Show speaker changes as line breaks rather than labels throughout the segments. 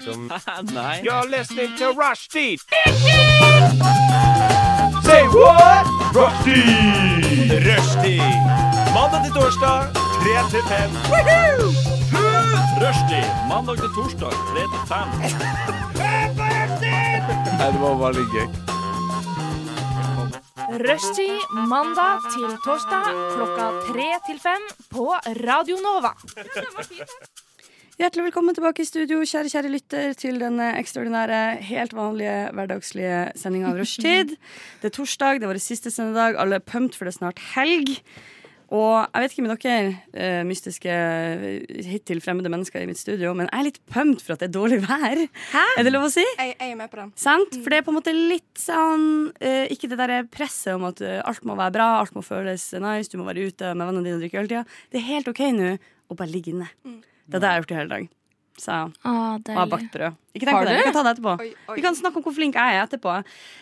som
Nei.
You're listening to Rushdie. Say what? Rushdie. Rushdie. Mandag til torsdag, 3 til 5.
Rushdie mandag til torsdag 3 til 5.
Nei, det var veldig gøy.
Rushtid mandag til torsdag klokka tre til fem på Radio Nova.
Hjertelig velkommen tilbake i studio, kjære kjære lytter, til denne ekstraordinære, helt vanlige, hverdagslige sendinga av Rushtid. Det er torsdag, det er vår siste sendedag, alle er pumped, for det er snart helg. Og jeg vet ikke med dere, eh, mystiske, eh, hittil fremmede mennesker i mitt studio, men jeg er litt pumped for at det er dårlig vær. Er det lov å si?
Jeg, jeg er med på den. Mm.
Sant? For det er på en måte litt sånn eh, Ikke det der presset om at eh, alt må være bra, alt må føles nice, du må være ute med vennene dine og drikke øl tida. Det er helt OK nå å bare ligge inne.
Mm.
Det er det jeg har gjort i hele dag. Så og har bakt brød. Ikke tenk
Har
på det,
du?
vi kan ta det etterpå.
Oi, oi.
Vi kan snakke om hvor flink jeg er etterpå.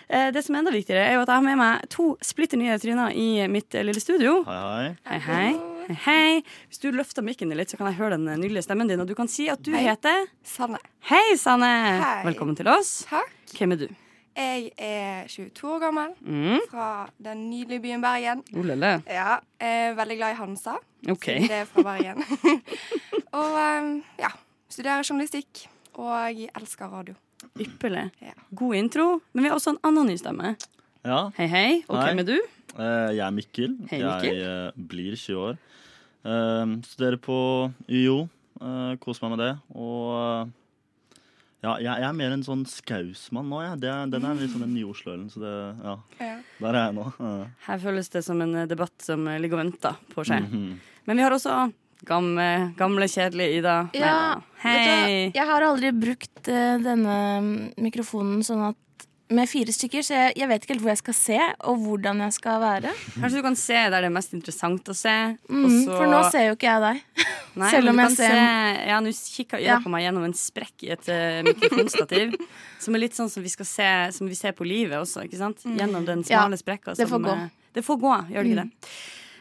Eh, Det som er enda viktigere, er jo at jeg har med meg to splitter nye tryner i mitt eh, lille studio.
Hei, hei.
Hei, hei. Hei, hei. Hvis du løfter mikken din litt, så kan jeg høre den eh, nydelige stemmen din, og du kan si at du
Hei.
heter
Sanne.
Hei, Sanne.
Hei.
Velkommen til oss.
Takk.
Hvem er du?
Jeg er 22 år gammel,
Mm.
fra den nydelige byen Bergen.
Olele.
Ja, eh, Veldig glad i Hansa,
OK.
siden det er fra Bergen. og eh, ja, studerer journalistikk, og jeg elsker radio.
Ypperlig.
Ja.
God intro. Men vi har også en annen ny stemme.
Ja,
Hei, hei. Og
Hei.
hvem er du?
eh, jeg er Mikkel.
Hei, Mikkel.
Jeg eh, blir 20 år. Eh, studerer på UiO. Eh, koser meg med det. Og eh, ja, jeg, jeg er mer en sånn skausmann nå, jeg. Det er- Den er liksom den nye Oslo-ølen, så det Ja,
Ja.
der er jeg nå. Eh,
Her føles det som en eh, debatt som eh, ligger og venter på seg.
mhm.
Men vi har også gamle, gamle kjedelige Ida.
Ja,
Neida. Hei.
Vet du hva, jeg har aldri brukt eh, denne mikrofonen sånn at med fire stykker, så jeg, jeg vet ikke helt hvor jeg skal se, og hvordan jeg skal være.
Kanskje du kan se der det er mest interessant å se.
Mm, For nå ser jo ikke jeg deg.
Nei,
selv
men
om
du kan
jeg ser-
se- Ja, nå kikker Ida
Ja.
på meg gjennom en sprekk i et eh, mikrofonstativ. som er litt sånn som vi, skal se, som vi ser på livet også, ikke sant? Gjennom den
Mm. Ja,
smale sprekka.
det får
som,
gå. Mm.
eh, Det får gå, gjør det ikke det?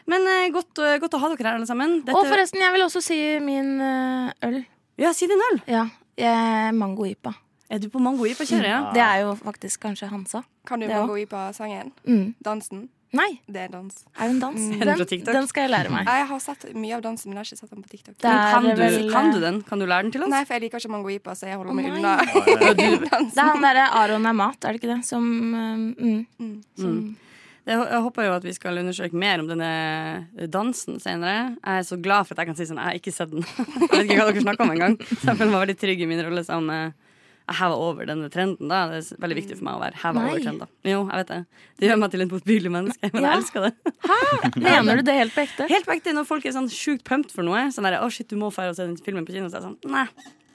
Men eh, godt, eh, godt å ha dere her, alle sammen. Dette-
Og forresten, jeg vil også si min eh, øl.
Ja, si din øl.
Ja, eh, Mango IPA.
Er du på mango ipa kjøret, ja?
Det er jo faktisk kanskje Hansa.
Kan du
Det også.
gå i på sangen?
Mm.
Dansen?
Nei,
Det er dans. Mm.
er det en dans?
Er den fra
Den,
TikTok?
den skal jeg lære meg.
Jeg har sett mye av dansen, men jeg har ikke sett den på TikTok.
Det
Men
er
kan,
vel
du, kan du den? Kan du lære den til oss?
Nei, for jeg liker ikke mango ipa, så jeg holder
Å,
meg
nei.
unna
Det er
dansen.
han derre Aron er mat, er det ikke det? Som eh, mm,
Mm.
som,
Det- Jeg håper jo at vi skal undersøke mer om denne dansen senere. Jeg er så glad for at jeg kan si sånn, jeg har ikke sett den. Jeg vet ikke hva dere snakker om engang. Så jeg føler meg veldig trygg i min rolle som eh, jeg hever over denne trenden. da. Det er veldig viktig for meg å være hevet
Nei.
over trenden. Jo, jeg vet det. Det gjør meg til en motbydelig menneske, men
Ja.
jeg elsker det.
Mener du det helt på ekte?
Helt på ekte, når folk er sånn sjukt pumped for noe, sånn der, å shit, du må feire å se den filmen på kino, så er jeg sånn, nei,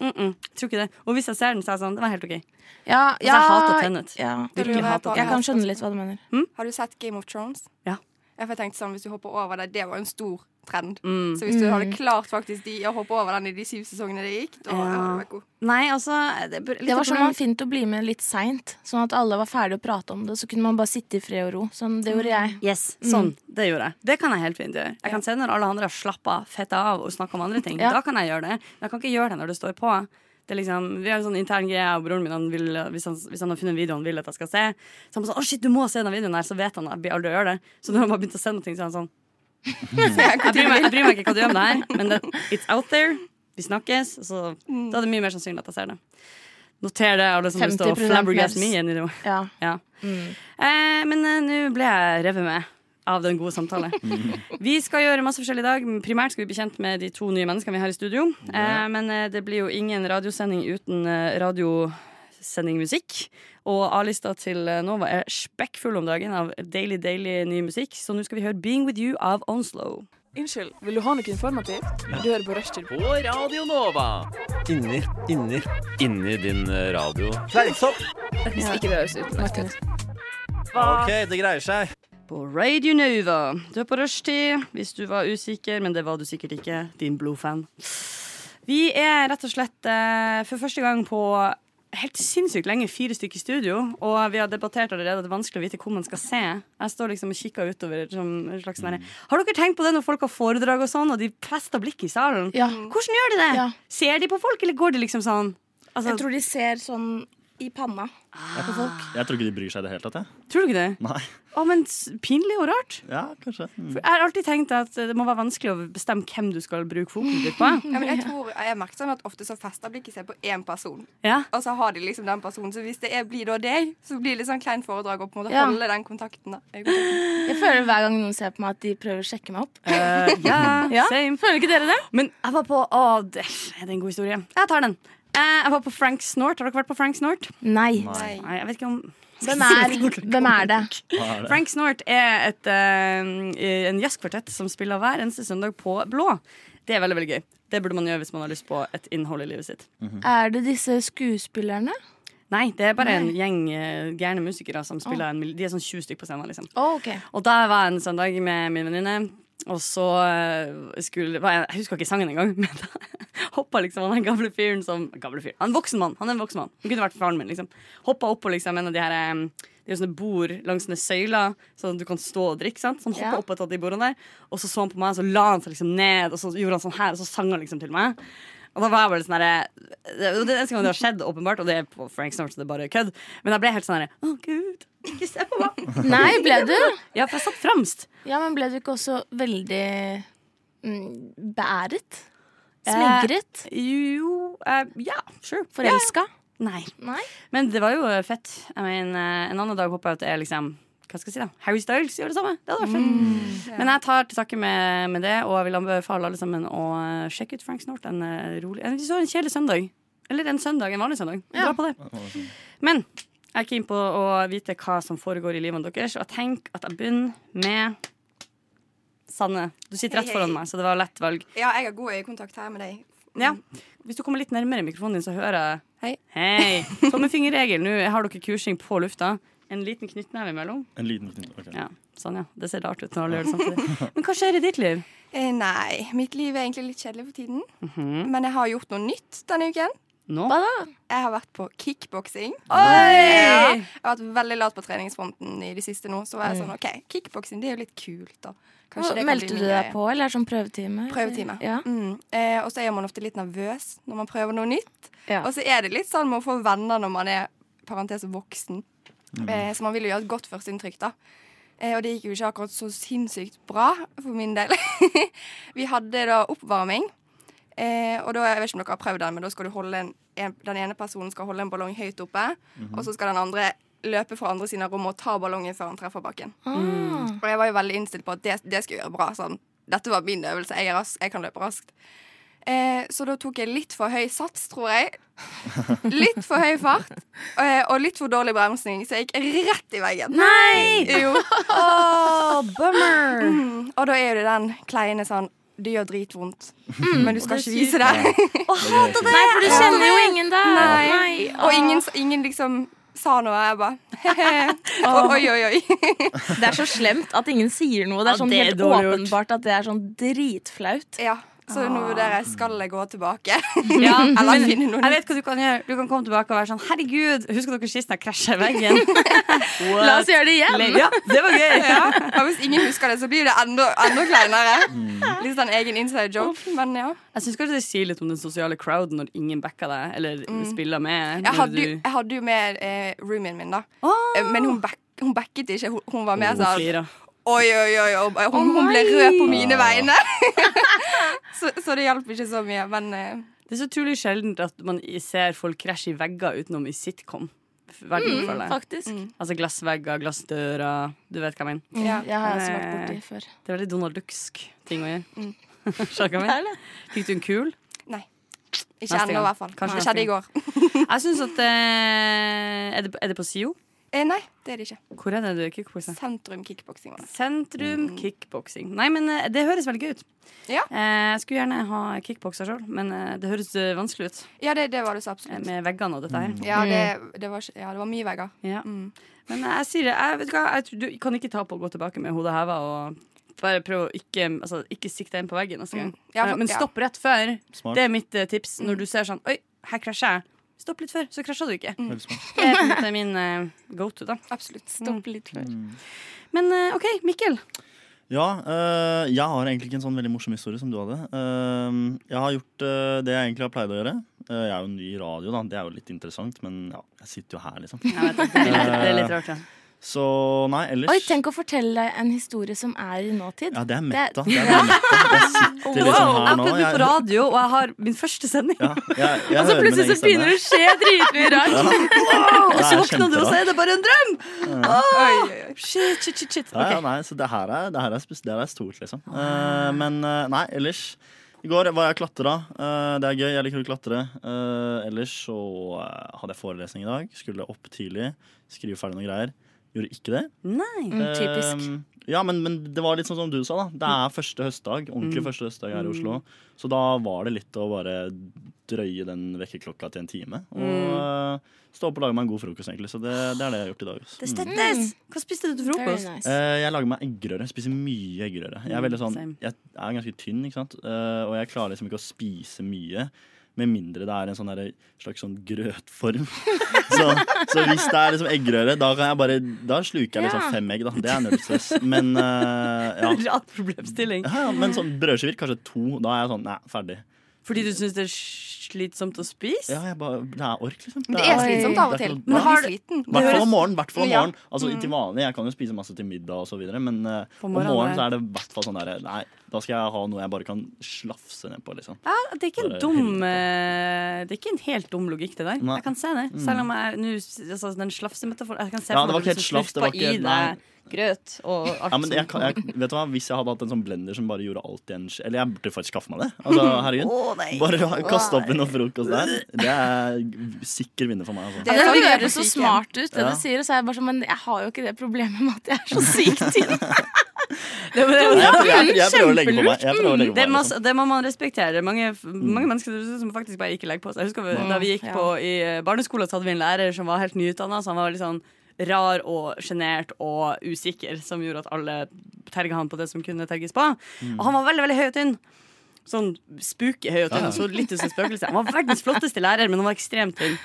mm -mm, tror ikke det. Og hvis jeg ser den, så er jeg sånn, det var helt ok.
Ja,
Altså, jeg hater Tenet.
Ja.
Da lurer
Virkelig
jeg
hatet
på-
Jeg kan skjønne litt hva du mener.
Har du sett Game of Thrones?
Ja.
Ja, for jeg tenkte sånn, Hvis du hopper over det, det var jo en stor trend.
Mm.
Så hvis du hadde klart faktisk de å hoppe over den i de syv sesongene det gikk, da hadde
Ja.
du vært god.
Nei, altså det, er litt
Det
av
var sånn
problemet-
man fint å bli med litt seint, sånn at alle var ferdige å prate om det. Så kunne man bare sitte i fred og ro. Sånn, det gjorde jeg.
Yes, sånn, Det gjorde jeg. Det kan jeg helt fint gjøre. Jeg kan se når alle andre har slappa fetta av og snakka om andre ting.
Ja.
Da kan jeg gjøre det. Men jeg kan ikke gjøre det når det står på. Det er liksom, vi har en sånn intern greie, og broren min han vil, hvis, han, hvis han har funnet en video han vil at jeg skal se, så han bare sånn 'Å, shit, du må se den videoen her', så vet han at jeg blir aldri å gjøre det. Så når han bare begynte å se noe, så er han sånn jeg bryr, meg, jeg bryr meg ikke hva du gjør med det her, men det, it's out there. Vi snakkes. Så da er det mye mer sannsynlig at jeg ser det. Noter det, alle som vil stå og
50%
flabbergast me.
mens.
i det.
Ja.
Ja. Eh, men eh, nå ble jeg revet med av den gode samtale. vi skal gjøre masse forskjellig i dag. men Primært skal vi bli kjent med de to nye menneskene vi har i studio. Eh, men eh, det blir jo ingen radiosending uten eh, radiosendingmusikk. Og A-lista til eh, Nova er spekkfull om dagen av deilig, deilig ny musikk. Så nå skal vi høre 'Being With You' av Onslow.
Unnskyld, vil du ha noe informativt? Du hører på Rushtid.
På Radio Nova.
Inni, inni, inni din eh, radio.
Hvis ikke det høres ut. Martin.
OK, det greier seg.
På Radio Nova. Du er på rushtid hvis du var usikker, men det var du sikkert ikke. Din blodfan. Vi er rett og slett eh, for første gang på helt sinnssykt lenge fire stykker i studio. Og vi har debattert allerede at det er vanskelig å vite hvor man skal se. Jeg står liksom og kikker utover som en slags nære. Har dere tenkt på det når folk har foredrag og sånn, og de fester blikket i salen?
Ja.
Hvordan gjør de det?
Ja.
Ser de på folk, eller går de liksom sånn Altså,
Jeg tror de ser sånn i panna på folk.
Jeg tror ikke de bryr seg i det hele tatt. Jeg.
tror du ikke det?
Nei.
Å, men s- pinlig og rart.
Ja, kanskje. Mm.
Jeg har alltid tenkt at det må være vanskelig å bestemme hvem du skal bruke fokuset ditt på.
Ja, men jeg tror, jeg merker sånn at Ofte så fester blikket seg på én person,
Ja.
og så har de liksom den personen. Så hvis det er, blir da deg, så blir det litt sånn kleint foredrag å på en måte
Ja.
holde den kontakten. da Øyekontakten.
Jeg føler hver gang noen ser på meg, at de prøver å sjekke meg opp.
Eh, ja,
Ja,
same.
Føler ikke dere det?
Men jeg var på Å, det er det en god historie. Jeg tar den. Eh, Jeg var på Frank Snort. Har dere vært på Frank Snort?
Nei.
Nei.
Nei, jeg vet ikke om
Hvem er, hvem er det?
Hva er det?
Frank Snort er et, eh, en jazzkvartett som spiller hver eneste søndag på Blå. Det er veldig veldig gøy. Det burde man gjøre hvis man har lyst på et innhold i livet sitt.
Er det disse skuespillerne?
Nei, det er bare en gjeng eh, gærne musikere som spiller en mil- De er sånn 20 stykker på scenen, liksom.
Oh, ok.
Og da var jeg en søndag med min venninne, og så eh, skulle var jeg, jeg husker ikke sangen engang, men da hoppa liksom han den gamle fyren som Gamle fyr. Han er en voksen mann. Han er en voksen mann. Han kunne vært faren min, liksom. Hoppa opp på liksom en av de her eh, det er jo sånne bord langs sånne søyler, sånn at du kan stå og drikke. sant? Så han hoppa
Ja.
opp et av de bordene der, og så så han på meg, og så la han seg liksom ned, og så gjorde han sånn her, og så sang han liksom til meg. Og da var jeg bare sånn herre Det er den eneste gang det har skjedd, åpenbart, og det er på Frank Snort, så det er bare kødd, men jeg ble helt sånn herre Å, gud, ikke se på meg.
Nei, ble du?
Ja, for jeg satt fremst.
Ja, men ble du ikke også veldig mm, beæret? Smigret?
Jo eh, Ja, sure.
Forelska?
Ja. Nei.
Nei.
Men det var jo eh, fett. Jeg mener, eh, en annen dag håper jeg at det er liksom hva skal jeg si da? Harry Styles gjør det samme. Det hadde vært fett. Men jeg tar til takke med, med det, og jeg vil anbefale alle sammen å eh, sjekke ut Frank Snort. En eh, rolig en, så en kjedelig søndag. Eller en søndag, en vanlig søndag. Dra på det. Men jeg er keen på å vite hva som foregår i livet deres, og jeg tenker at jeg begynner med Sanne. Du sitter rett
Hei,
foran
hei.
meg, så det var lett valg.
Ja, jeg har god øyekontakt her med deg.
Ja. Mm. Hvis du kommer litt nærmere mikrofonen din, så hører jeg Hei. Tommefingerregel. Nå har dere kursing på lufta. En liten knyttneve imellom.
En liten knytt. ok.
Ja, sånn, ja. Det ser rart ut når alle gjør det samtidig. Men hva skjer i ditt liv?
Eh, nei, mitt liv er egentlig litt kjedelig for tiden.
Mhm.
Men jeg har gjort noe nytt denne uken.
Nå?
Hva da?
Jeg har vært på kickboksing. Ja,
Oi!
jeg har vært veldig lat på treningsfronten i det siste nå. Så var jeg sånn, ok, kickboksing det er jo litt kult, da. Kanskje det kan bli
Mm. Meldte du
min
deg
greie.
på, eller er det sånn prøvetime? eller?
Prøvetime.
Ja.
Mm. Eh, og så er man ofte litt nervøs når man prøver noe nytt.
Ja.
Og så er det litt sånn med å få venner når man er parentes voksen. Eh, så man vil jo gjøre et godt førsteinntrykk, da. Eh, og det gikk jo ikke akkurat så sinnssykt bra for min del. Vi hadde da oppvarming. Eh, og da, jeg vet ikke om dere har prøvd den, men da skal du holde en, en, den ene personen skal holde en ballong høyt oppe, og så skal den andre løpe fra andre siden av rommet og ta ballongen før han treffer bakken. Og jeg var jo veldig innstilt på at det, det skal jeg gjøre bra. Sånn. Dette var min øvelse. Jeg, er rask, jeg kan løpe raskt. Eh, så da tok jeg litt for høy sats, tror jeg. Litt for høy fart eh, og litt for dårlig bremsing, så jeg gikk rett i veggen.
Nei!
Jo. Mm.
Å, bummer!
Og da er jo det den kleine sånn Det gjør dritvondt, men du skal ikke vise det.
Nei, for du kjenner jo ingen der.
Og ingen, ingen liksom sa noe. Jeg bare Oi, oi, oi.
Det er så slemt at ingen sier noe.
Ja,
Det er sånn
det er
helt
dårlig gjort.
åpenbart at det er sånn dritflaut.
Ja, så nå vurderer jeg skal jeg gå tilbake.
Ja,
Eller
men
finne noe
jeg vet hva du kan gjøre. Du kan komme tilbake og være sånn Herregud, husker dere sist jeg krasja i veggen?
La oss gjøre det igjen.
Ja, det var gøy.
Ja, og hvis ingen husker det, så blir det enda, enda kleinere.
Mm.
Litt sånn egen inside joke, men ja.
Jeg syns kanskje det sier litt om den sosiale crowden når ingen backer deg eller spiller med.
Jeg
når
hadde, jo-
du-
jeg hadde jo med eh, roomien min, da.
Åh!
Eh, Men hun, back, hun backet ikke. Hun, hun var med
Hun
sånn
flirer.
Oi, oi, oi. oi. Hun, hun ble
nei!
rød på mine
Ah.
vegne. så, så det hjalp ikke så mye, men eh,
Det er så utrolig sjeldent at man i- ser folk krasje i vegger utenom i sitcom. Verden, føler jeg.
Faktisk.
Altså glassvegger, glassdører Du vet hva jeg mener.
ja.
Jeg har også vært borti før.
Det er veldig Donald Ducksk ting å gjøre. Skjønner du hva jeg mener? Fikk du en kul?
Ikke
Neste
ennå, i
gang.
hvert fall.
Kanskje
det
neste
skjedde i går.
Jeg syns at eh, er, det, er det på SIO?
Eh, nei, det er det ikke.
Hvor er det du kickbokser?
Sentrum kickboksing. var det.
Sentrum kickboksing. Nei, men eh, det høres veldig gøy ut.
Ja.
Eh, jeg skulle gjerne ha kickbokser sjøl, men eh, det høres eh, vanskelig ut
Ja, det, det var det så
eh,
absolutt.
med veggene og dette her.
Ja, det, det, var, ikke- ja, det var mye vegger.
Ja.
Mm.
Men jeg sier det. Jeg, vet du hva, jeg tror, du kan ikke ta på å gå tilbake med hodet heva og bare prøve å ikke, altså, ikke sikte inn på veggen neste gang.
Ja, for-
Eh, Men
ja.
stopp rett før.
Smart.
Det er mitt eh, tips når du ser sånn Oi, her krasjer jeg. Stopp litt før, så krasjer du ikke.
Veldig smart.
Det er på en måte min eh, go to, da.
Absolutt. Stopp litt før.
Men eh, OK, Mikkel.
Ja, eh, jeg har egentlig ikke en sånn veldig morsom historie som du hadde. Eh, jeg har gjort eh, det jeg egentlig har pleid å gjøre. Eh, Jeg er jo ny i radio, da. Det er jo litt interessant, men ja, jeg sitter jo her, liksom.
Jeg vet, det, er litt, det er litt rart, ja.
Så nei, ellers
Oi, tenk å fortelle deg en historie som er i nåtid.
Ja, det er metta. Det er bare metta. Jeg sitter liksom
Wow, jeg
her nå.
har kommet på
Jeg-
radio, og jeg har min første sending.
Ja, jeg, jeg
og så
hører min
plutselig
egen
så begynner
stemme.
det å skje dritmye rart. Wow, og så
Det er
våkner du, og så er det bare en drøm!
Oi, oi, oi.
Shit, shit, shit, shit.
Ja, ja,
Ok.
nei, så det her er, det her er, spes- det her er stort, liksom. Eh, men eh, nei, ellers I går var jeg klatra. Eh, det er gøy. Jeg liker å klatre. Eh, ellers så eh, hadde jeg forelesning i dag. Skulle opp tidlig, skrive ferdig noen greier. Gjorde ikke det.
Nei.
Mm, typisk.
Ehm, ja, men, men det var litt sånn som du sa, da. Det er første høstdag. Ordentlig første høstdag her i Oslo. Så da var det litt å bare drøye den vekkerklokka til en time. Og eh, stå opp og lage meg en god frokost, egentlig. Så det, det er det jeg har gjort i dag. altså. ass.
Det stettes. Hva spiste du til
Very
frokost?
nice.
Eh, jeg lager meg eggerøre. Spiser mye eggerøre.
Mm,
Jeg er, veldig sånn,
same.
jeg er ganske tynn, ikke sant? Eh, og jeg klarer liksom ikke å spise mye. Med mindre det er en sånn derre- slags sånn grøtform. så, så hvis det er liksom eggerøre, da, kan jeg bare, da sluker jeg liksom
Ja.
fem egg. Da. Det er null stress. Men, eh, ja.
Rar problemstilling.
Ja, ja, men sånn brødskiver, kanskje to. Da er jeg sånn nei, ferdig.
Fordi du syns det er slitsomt å spise?
Ja, jeg bare, det er ork, liksom.
Det er slitsomt av og
det er
til.
ikke noe-
Man
Men har
blir sliten.
hvert fall om morgenen. hvert fall om
Ja.
morgenen Altså til vanlig, Jeg kan jo spise masse til middag, og så videre men eh,
Mm. På
om
morgenen der.
morgenen så er det i hvert fall sånn derre Nei, da skal jeg ha noe jeg bare kan slafse ned på. liksom
Ja, det er ikke en
Bare
dum
helvete.
eh, Det er ikke en helt dum logikk, det der.
Nei. Mm.
Jeg kan se det. Selv om jeg nå altså, Den slafsemetaforen Jeg kan se
Ja,
for
det
meg at
var ikke
du
helt
liksom
slafs, det var
slurper
ikke-
i
nei.
deg grøt og alt
Ja, men jeg,
som-
kan- jeg, vet du hva, Hvis jeg hadde hatt en sånn blender som bare gjorde alt i en sk- Eller jeg burde faktisk skaffe meg det. Altså, herregud
Å, nei.
Bare kaste opp i noe frokost der. Det er sikker vinner for meg. Altså.
Ja,
sånn
det
vi gjør på
høres så
sykehjem.
smart ut, det
Ja.
du sier. Og så er jeg bare sånn, men jeg har jo ikke det problemet med at jeg er så sykt tynn.
Det var- det var-
Jeg, jeg, jeg prøver å legge på meg. Jeg prøver å legge
Det må,
på meg liksom. Mm.
det må man respektere. Mange, mange mennesker som faktisk bare ikke legger på seg. Jeg husker Da vi gikk
ja.
på i eh, barneskolen, så hadde vi en lærer som var helt nyutdanna. Så han var litt sånn rar og sjenert og usikker, som gjorde at alle terga han på det som kunne terges på.
Mm.
Og han var veldig, veldig høy og tynn. Sånn spooky høy og tynn. Så litt ut som et spøkelse. Han var verdens flotteste lærer, men han var ekstremt tynn.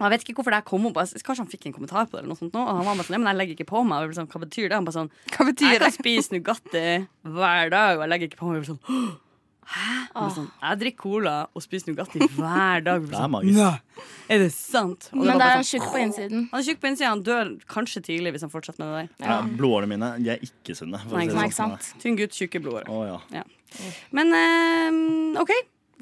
Og jeg vet ikke hvorfor det her kom opp. Jeg- Kanskje han fikk en kommentar på det, eller noe sånt nå. Og han var bare sånn, «Nei, men jeg legger ikke på meg. Og jeg ble sånn, Hva betyr det? Han bare sånn
Hva betyr
jeg
det?
kan spise Nugatti hver dag, og jeg legger ikke på meg. Jeg blir sånn, «Åh, Hæ? Jeg, blir sånn, jeg drikker cola og spiser Nugatti hver dag. Jeg blir
Det er
Sånn,
magisk.
er det sant? Og det
Men
var
da
bare
er han
sånn,
tjukk på innsiden.
han er tjukk på innsida. Han dør kanskje tidlig hvis han fortsetter med det der.
Ja, Blodårene mine de er ikke sunne. for å
Nei,
si det
Nei,
sånn.
ikke sant?
Tynn gutt, tjukke blodårer.
Å, ja.
Men eh, OK.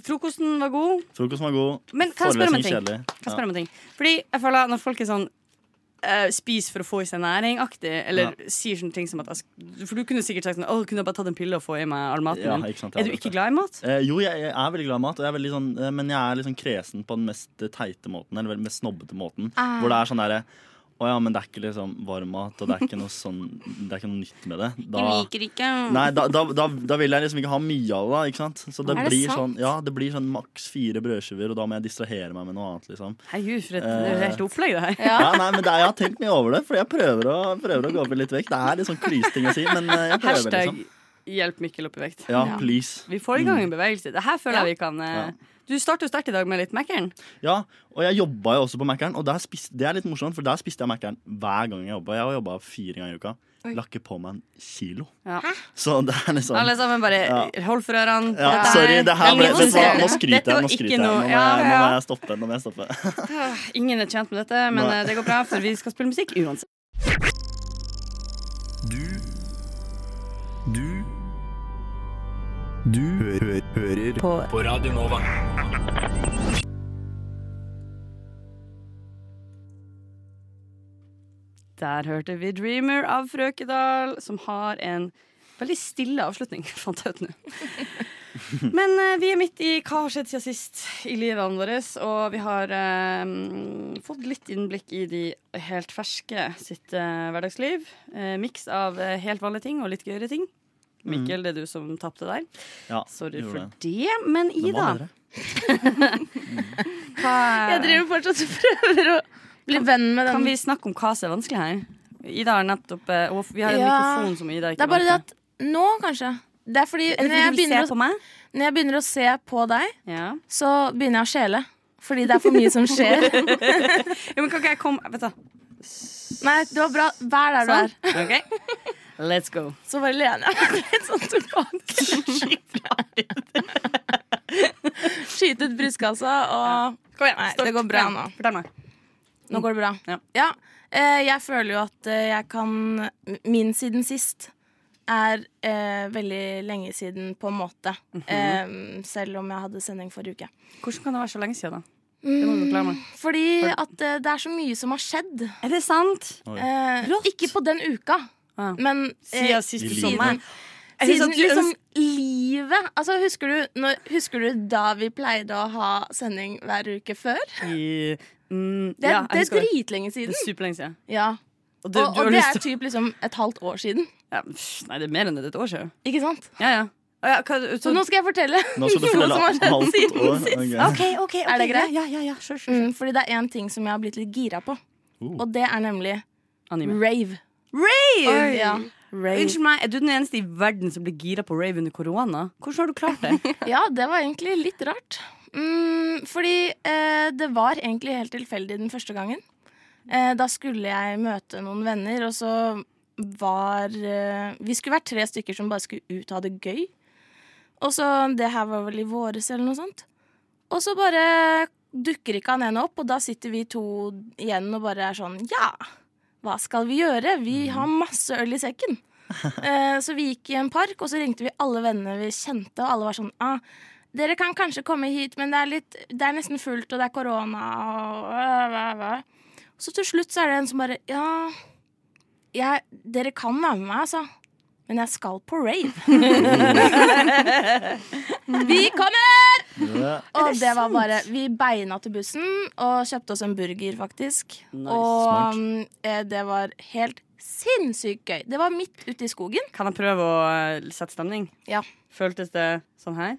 Frokosten var god.
Frokosten var god.
Men kan jeg spørre om en
Forelesning
ting?
kjedelig.
Kan jeg spørre om en ting? Fordi jeg føler at når folk er sånn eh, spis for å få i seg næring-aktig, eller sier sånne ting som at jeg sk- For du kunne sikkert sagt sånn Å, kunne jeg bare tatt en pille og få i meg all maten
Ja,
min?
ikke sant, jeg
er du
vet
ikke
det.
glad i mat?
Eh, jo, jeg, jeg er veldig glad i mat, og jeg er veldig sånn, eh, men jeg er liksom kresen på den mest teite måten. Eller vel- mest snobbete måten. Hvor det er sånn derre Å ja, men det er ikke liksom varm mat, og det er ikke noe sånn Det er ikke noe nytt med det. Da,
ikke
nei, da, da, da, da vil jeg liksom ikke ha mye av det, da, ikke sant? Så det
Er det
blir
sant?
sånn Ja, det blir sånn maks fire brødskiver, og da må jeg distrahere meg med noe annet, liksom.
Herregud, for et, det er jo helt opplegg, det her.
Ja, nei, men Eh, det, er- Jeg har tenkt mye over det, for jeg prøver å, prøver å gå opp litt vekk. Det er litt sånn klysting å si, men eh, jeg prøver,
Hashtag
liksom.
'hjelp Mikkel opp i vekt'.
Ja, please.
Vi får i gang en bevegelse. Det her føler jeg vi kan eh,
Mm. Ja.
Du starter jo sterkt i dag med litt Mækkern.
Ja, og jeg jobba jo også på Mækkern, og der spis, det er litt morsomt, for der spiste jeg Mækkern hver gang jeg jobba. Jeg har jobba fire ganger i uka. La ikke på meg en kilo.
Ja.
Så det er liksom
Alle sammen bare
Ja.
hold for ørene.
ja,
Dette her-
Sorry, det her ble
Ingen
vet du hva,
ser
Nå
det.
skryter
Dette
jeg.
var
Nå
ikke
skryter jeg. Nå
noe-
må
ja,
jeg, nå
ja.
må jeg stoppe. Nå må jeg stoppe.
Ingen er tjent med dette, men
Nei.
eh, det går bra, for vi skal spille musikk uansett. Der hørte vi 'Dreamer' av Frøkedal, som har en veldig stille avslutning, fant jeg ut nå. Men eh, vi er midt i hva har skjedd siden sist i livene våre, og vi har eh, fått litt innblikk i de helt ferske sitt eh, hverdagsliv. Eh, Miks av eh, helt vanlige ting og litt gøyere ting. Mikkel, det er du som tapte der.
Ja,
Sorry
Mm. gjorde
for
det.
det. Men
Den var
Ida,
bedre.
hva,
Jeg driver fortsatt og prøver å bli venn med sånn-
kan
den.
vi snakke om hva som er vanskelig her? Ida har nettopp eh, og Vi har en
Ja.
mikrofon som Ida ikke
Det er bare det
vant
at nå, kanskje. Det er fordi
med. Er
når
det fordi
jeg,
du
begynner
ser
å,
på meg?
når jeg begynner å se på deg,
Ja.
så begynner jeg å skjele. Fordi det er for mye som skjer.
ja, men kan ikke jeg komme Vet du.
Nei, det var bra. Vær der du
Sånn.
er.
OK? Let's go.
Så bare lener jeg meg litt sånn tilbake. Skyte ut brystkassa og Kom igjen, Nei, det går bra nå.
Fortell meg.
Nå går det bra.
Ja.
Eh, jeg føler jo at eh, jeg kan Min siden sist er eh, veldig lenge siden, på en måte. eh, selv om jeg hadde sending forrige uke.
Hvordan kan det være så lenge siden, da? Det må du forklare meg.
Mm. Fordi at eh, det er så mye som har skjedd.
Er det sant?
Eh,
Rått.
ikke på den uka,
Ah.
men eh,
Siden sist
i
i
livet.
sommer. Jeg synes
siden
at du
liksom
ønsker-
livet Altså, husker du, når, husker du da vi pleide å ha sending hver uke før?
i- mm,
Det er,
ja, jeg
det
husker
er dritlenge siden.
Det er superlenge siden.
Ja.
Og, du, du
Og,
har
og det
lyst
er
til å-
typ liksom et halvt år siden.
ja, pff, Nei, det er mer enn det. Det er et år siden.
Ikke sant?
Ja, ja. Å, ja hva, så,
Så nå skal jeg fortelle
Nå skal du fortelle
noe som har
alt
skjedd siden
år.
sist.
Ok.
Er det greit?
Ja, ja, ja, sure, sure.
Mm, fordi det er én ting som jeg har blitt litt gira på,
Oh.
og det er nemlig
Anime.
rave.
Rave!
Ja.
Unnskyld meg, er du den eneste i verden som ble gira på rave under korona? Hvordan har du klart det?
ja, det var egentlig litt rart. Mm, fordi eh, det var egentlig helt tilfeldig den første gangen. Eh, da skulle jeg møte noen venner, og så var eh, Vi skulle vært tre stykker som bare skulle ut og ha det gøy. Og så Det her var vel i våres eller noe sånt. Og så bare dukker ikke han ene opp, og da sitter vi to igjen og bare er sånn Ja, hva skal vi gjøre? Vi har masse øl i sekken. Eh, Så vi gikk i en park, og så ringte vi alle vennene vi kjente, og alle var sånn ah, Dere kan kanskje komme hit, men det er, litt, det er nesten fullt, og det er korona og øh, hva, hva. Så til slutt så er det en som bare Ja, jeg, dere kan være med meg, altså. Men jeg skal på rave. vi kommer!
Ja.
Og det var bare Vi beina til bussen og kjøpte oss en burger, faktisk.
Nice,
og
smart.
mm, eh, det var helt sinnssykt gøy. Det var midt ute i skogen.
Kan jeg prøve å eh, sette stemning?
Ja.
Føltes det sånn her?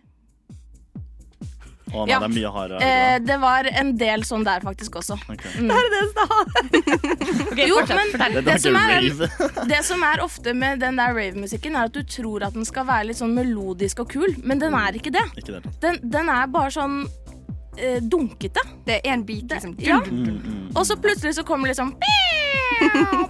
Å nei,
Ja.
det er mye hardere.
Eh, det var en del sånn der faktisk også.
Ok.
Ok,
Jo,
fortsett,
men
fortell.
Det,
det
det
som
var
er-
ikke rave.
Det som er ofte med den der rave-musikken, er at du tror at den skal være litt sånn melodisk og kul, men den er ikke det.
Ikke det.
Den, den er bare sånn eh, dunkete.
Det er en bit, liksom.
Ja.
Mm, mm.
Og så plutselig så kommer det liksom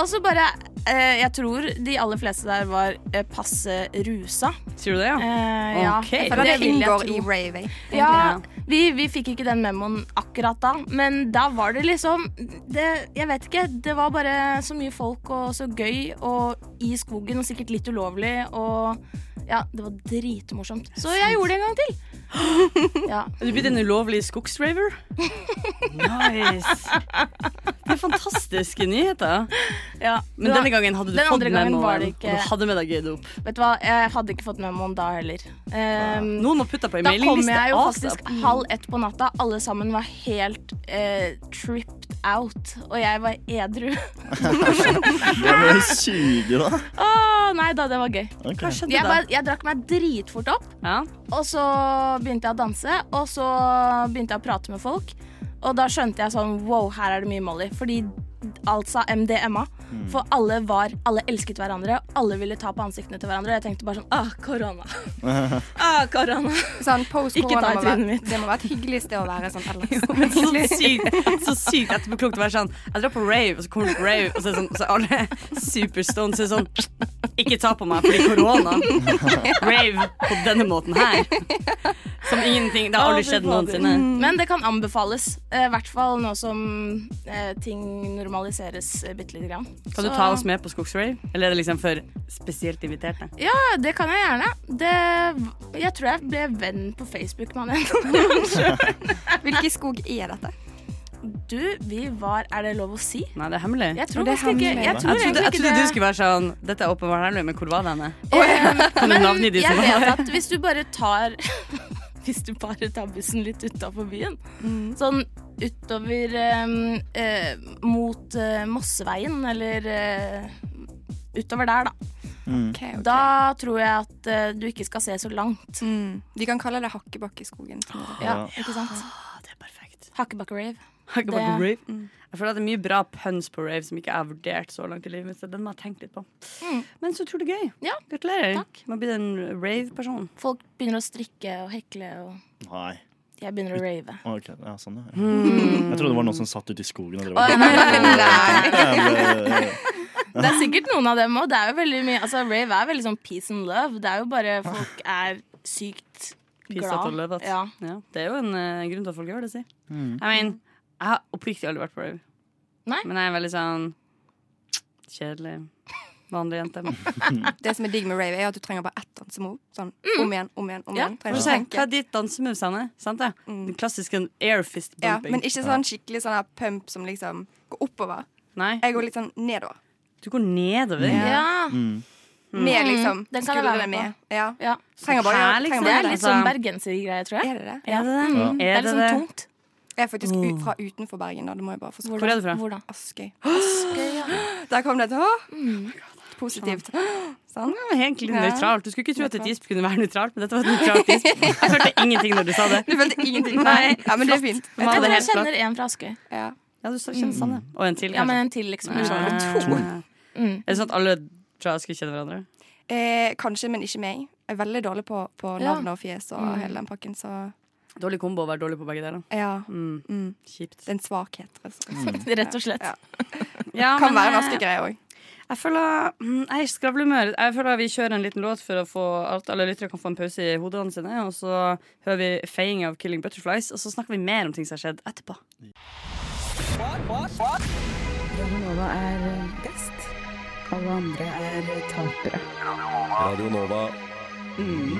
Og så bare eh, Jeg tror de aller fleste der var eh, passe rusa.
Sier du det, ja?
Eh, ja.
Ok.
For det
vil jeg
inngår
tro.
i rave. egentlig.
Ja, vi, vi fikk ikke den memoen akkurat da, men da var det liksom det, Jeg vet ikke. Det var bare så mye folk og så gøy og i skogen og sikkert litt ulovlig og Ja, det var dritmorsomt. Så jeg gjorde det en gang til. Ja.
Du blitt en ulovlig skogsraver? Nice. Det er fantastiske nyheter.
ja.
Men
det var-
denne gangen hadde du
Den
fått
andre gangen
memoen,
var det ikke-
og du hadde med deg gøy dop.
Vet du hva, jeg hadde ikke fått memoen da heller. Ehm,
Noen må putte på en
da kom
mailingliste.
jeg jo
ASAP.
faktisk halv ett på natta. Alle sammen var helt eh, tripped out, og jeg var edru.
Det var sykt, da.
Å nei da, det var gøy.
Ok.
Hva skjedde
Jeg,
da?
bare, jeg drakk meg dritfort opp,
Ja.
og så begynte jeg å danse. Og så begynte jeg å prate med folk, og da skjønte jeg sånn wow, her er det mye Molly. Fordi altså MDMA. For alle var Alle elsket hverandre, alle ville ta på ansiktene til hverandre. Og jeg tenkte bare sånn ah, korona. ah, korona.
Sånn
Ikke ta
post-korona
i
må være-
trynet mitt.
Det må være et hyggelig sted å være sånn ellers.
Men så sykt, så sykt etterpåklokt å være sånn Jeg drar på rave, og så kommer du på rave, og så er det sånn, så er alle superstoned så er det sånn Ikke ta på meg fordi korona. Rave på denne måten her. Som ingenting. Det har aldri skjedd noensinne.
Men det kan anbefales. eh, I hvert fall nå som eh, ting normaliseres eh, bitte lite grann.
Kan du
Så-
ta oss med på skogsrave? Eller er det liksom for spesielt inviterte?
Ja, det kan jeg gjerne. Det, jeg tror jeg ble venn på Facebook med han ene.
Hvilken skog er dette?
Du, vi var Er det lov å si?
Nei, det er hemmelig.
Jeg tror
Og det er
faktisk ikke
hemmelig.
Jeg
Jeg
tror
trodde,
egentlig
jeg
ikke
trodde du
det.
skulle være sånn Dette er åpenbart hemmelig, men hvor var denne? Kan du
Men
navnet ditt?
jeg vet at hvis du bare tar Hvis du bare tar bussen litt utafor byen,
Mm.
sånn utover eh, eh, mot eh, Mosseveien, eller eh, utover der, da.
Ok, ok.
sånn- Da tror jeg at eh, du ikke skal se så langt.
Mm. De kan kalle det hakkebakkeskogen. tror jeg.
Ja, ikke sant?
Ah, det er perfekt.
Hakkebakkerave.
Jeg kan bare
Det-
gå rave. Jeg føler at det er mye bra puns på rave som ikke jeg har vurdert så langt i livet mitt. Så den må jeg tenke litt på. Men så utrolig gøy.
Ja,
Gratulerer.
takk.
Man blir en rave-person.
Folk begynner å strikke og hekle, og
Nei.
jeg begynner å rave.
Ok, ja, sånn, ja. Jeg trodde det var noen som satt ute i skogen og drev
Å,
og
Nei.
Jævlig-
Det er sikkert noen av dem òg. Det er jo veldig mye Altså, rave er veldig sånn peace and love. Det er jo bare folk er sykt
Ah. Peace out
glad.
og love out.
Ja.
Ja, det er jo en eh, grunn til at folk gjør det, si. Jeg mener, jeg har oppriktig aldri vært på rave.
Nei.
Men jeg er veldig sånn kjedelig, vanlig jente.
Det som er digg med rave, er at du trenger bare ett dansemove. Sånn om igjen, om igjen, om
Mm. Ja.
igjen.
Får
Trenger
se,
ikke
Hva
tenke.
er ditt dansemove, Sanne? Sant det?
Mm.
Den klassiske air fist
Ja,
bumping.
men ikke sånn skikkelig sånn her pump som liksom går oppover.
Nei,
Jeg går litt sånn nedover.
du går nedover.
Ja.
Ja.
Mm.
Med liksom
Den kan jeg være
skuldrene
med
med. Ja.
ja.
Trenger bare,
Her, liksom. Altså,
trenger
Det
bare
er litt sånn bergensergreie, tror jeg.
Er det det?
Er det det?
Mm. Det
Er
er
det
litt sånn
det?
tungt.
Jeg er faktisk u fra utenfor Bergen, da. Det må jeg bare forstå.
Hvor er du fra?
Hvordan?
Askøy.
Ja.
Der kom det et «Åh!»
Mm.
Positivt. Sånn.
Det var egentlig
Ja.
Mm, nøytralt. Du skulle ikke tro at et gisp kunne være nøytralt, men dette var et nøytralt gisp. Jeg hørte ingenting når du sa det.
Du følte ingenting? Nei. Ja, men det er fint.
For meg
Jeg
var
tror
det
jeg
helt flatt.
kjenner en fra Askøy.
Ja.
Ja, du sa- kjenner Sanne. Mm. Og en til,
Ja, men
kanskje.
en til, liksom.
Nei.
Mm.
Er det sånn at alle tror jeg skal kjenne hverandre?
Eh, kanskje, men ikke meg. Jeg er veldig dårlig på, på
Ja.
navn og fjes og hele den pakken, så
Dårlig kombo å være dårlig på begge deler.
ja.
Mm.
Mm.
Kjipt.
Det er en svakhet. rett og slett.
Mm.
Rett og slett.
Ja.
Ja,
Kan
men,
være en
eh,
askegreie òg.
Jeg føler mm, Jeg er i skravlehumør. Jeg føler vi kjører en liten låt for å få at alle lyttere kan få en pause i hodene sine. Og så hører vi feiing av 'Killing Butterflies', og så snakker vi mer om ting som har skjedd etterpå.
Radio Nova.
Mm.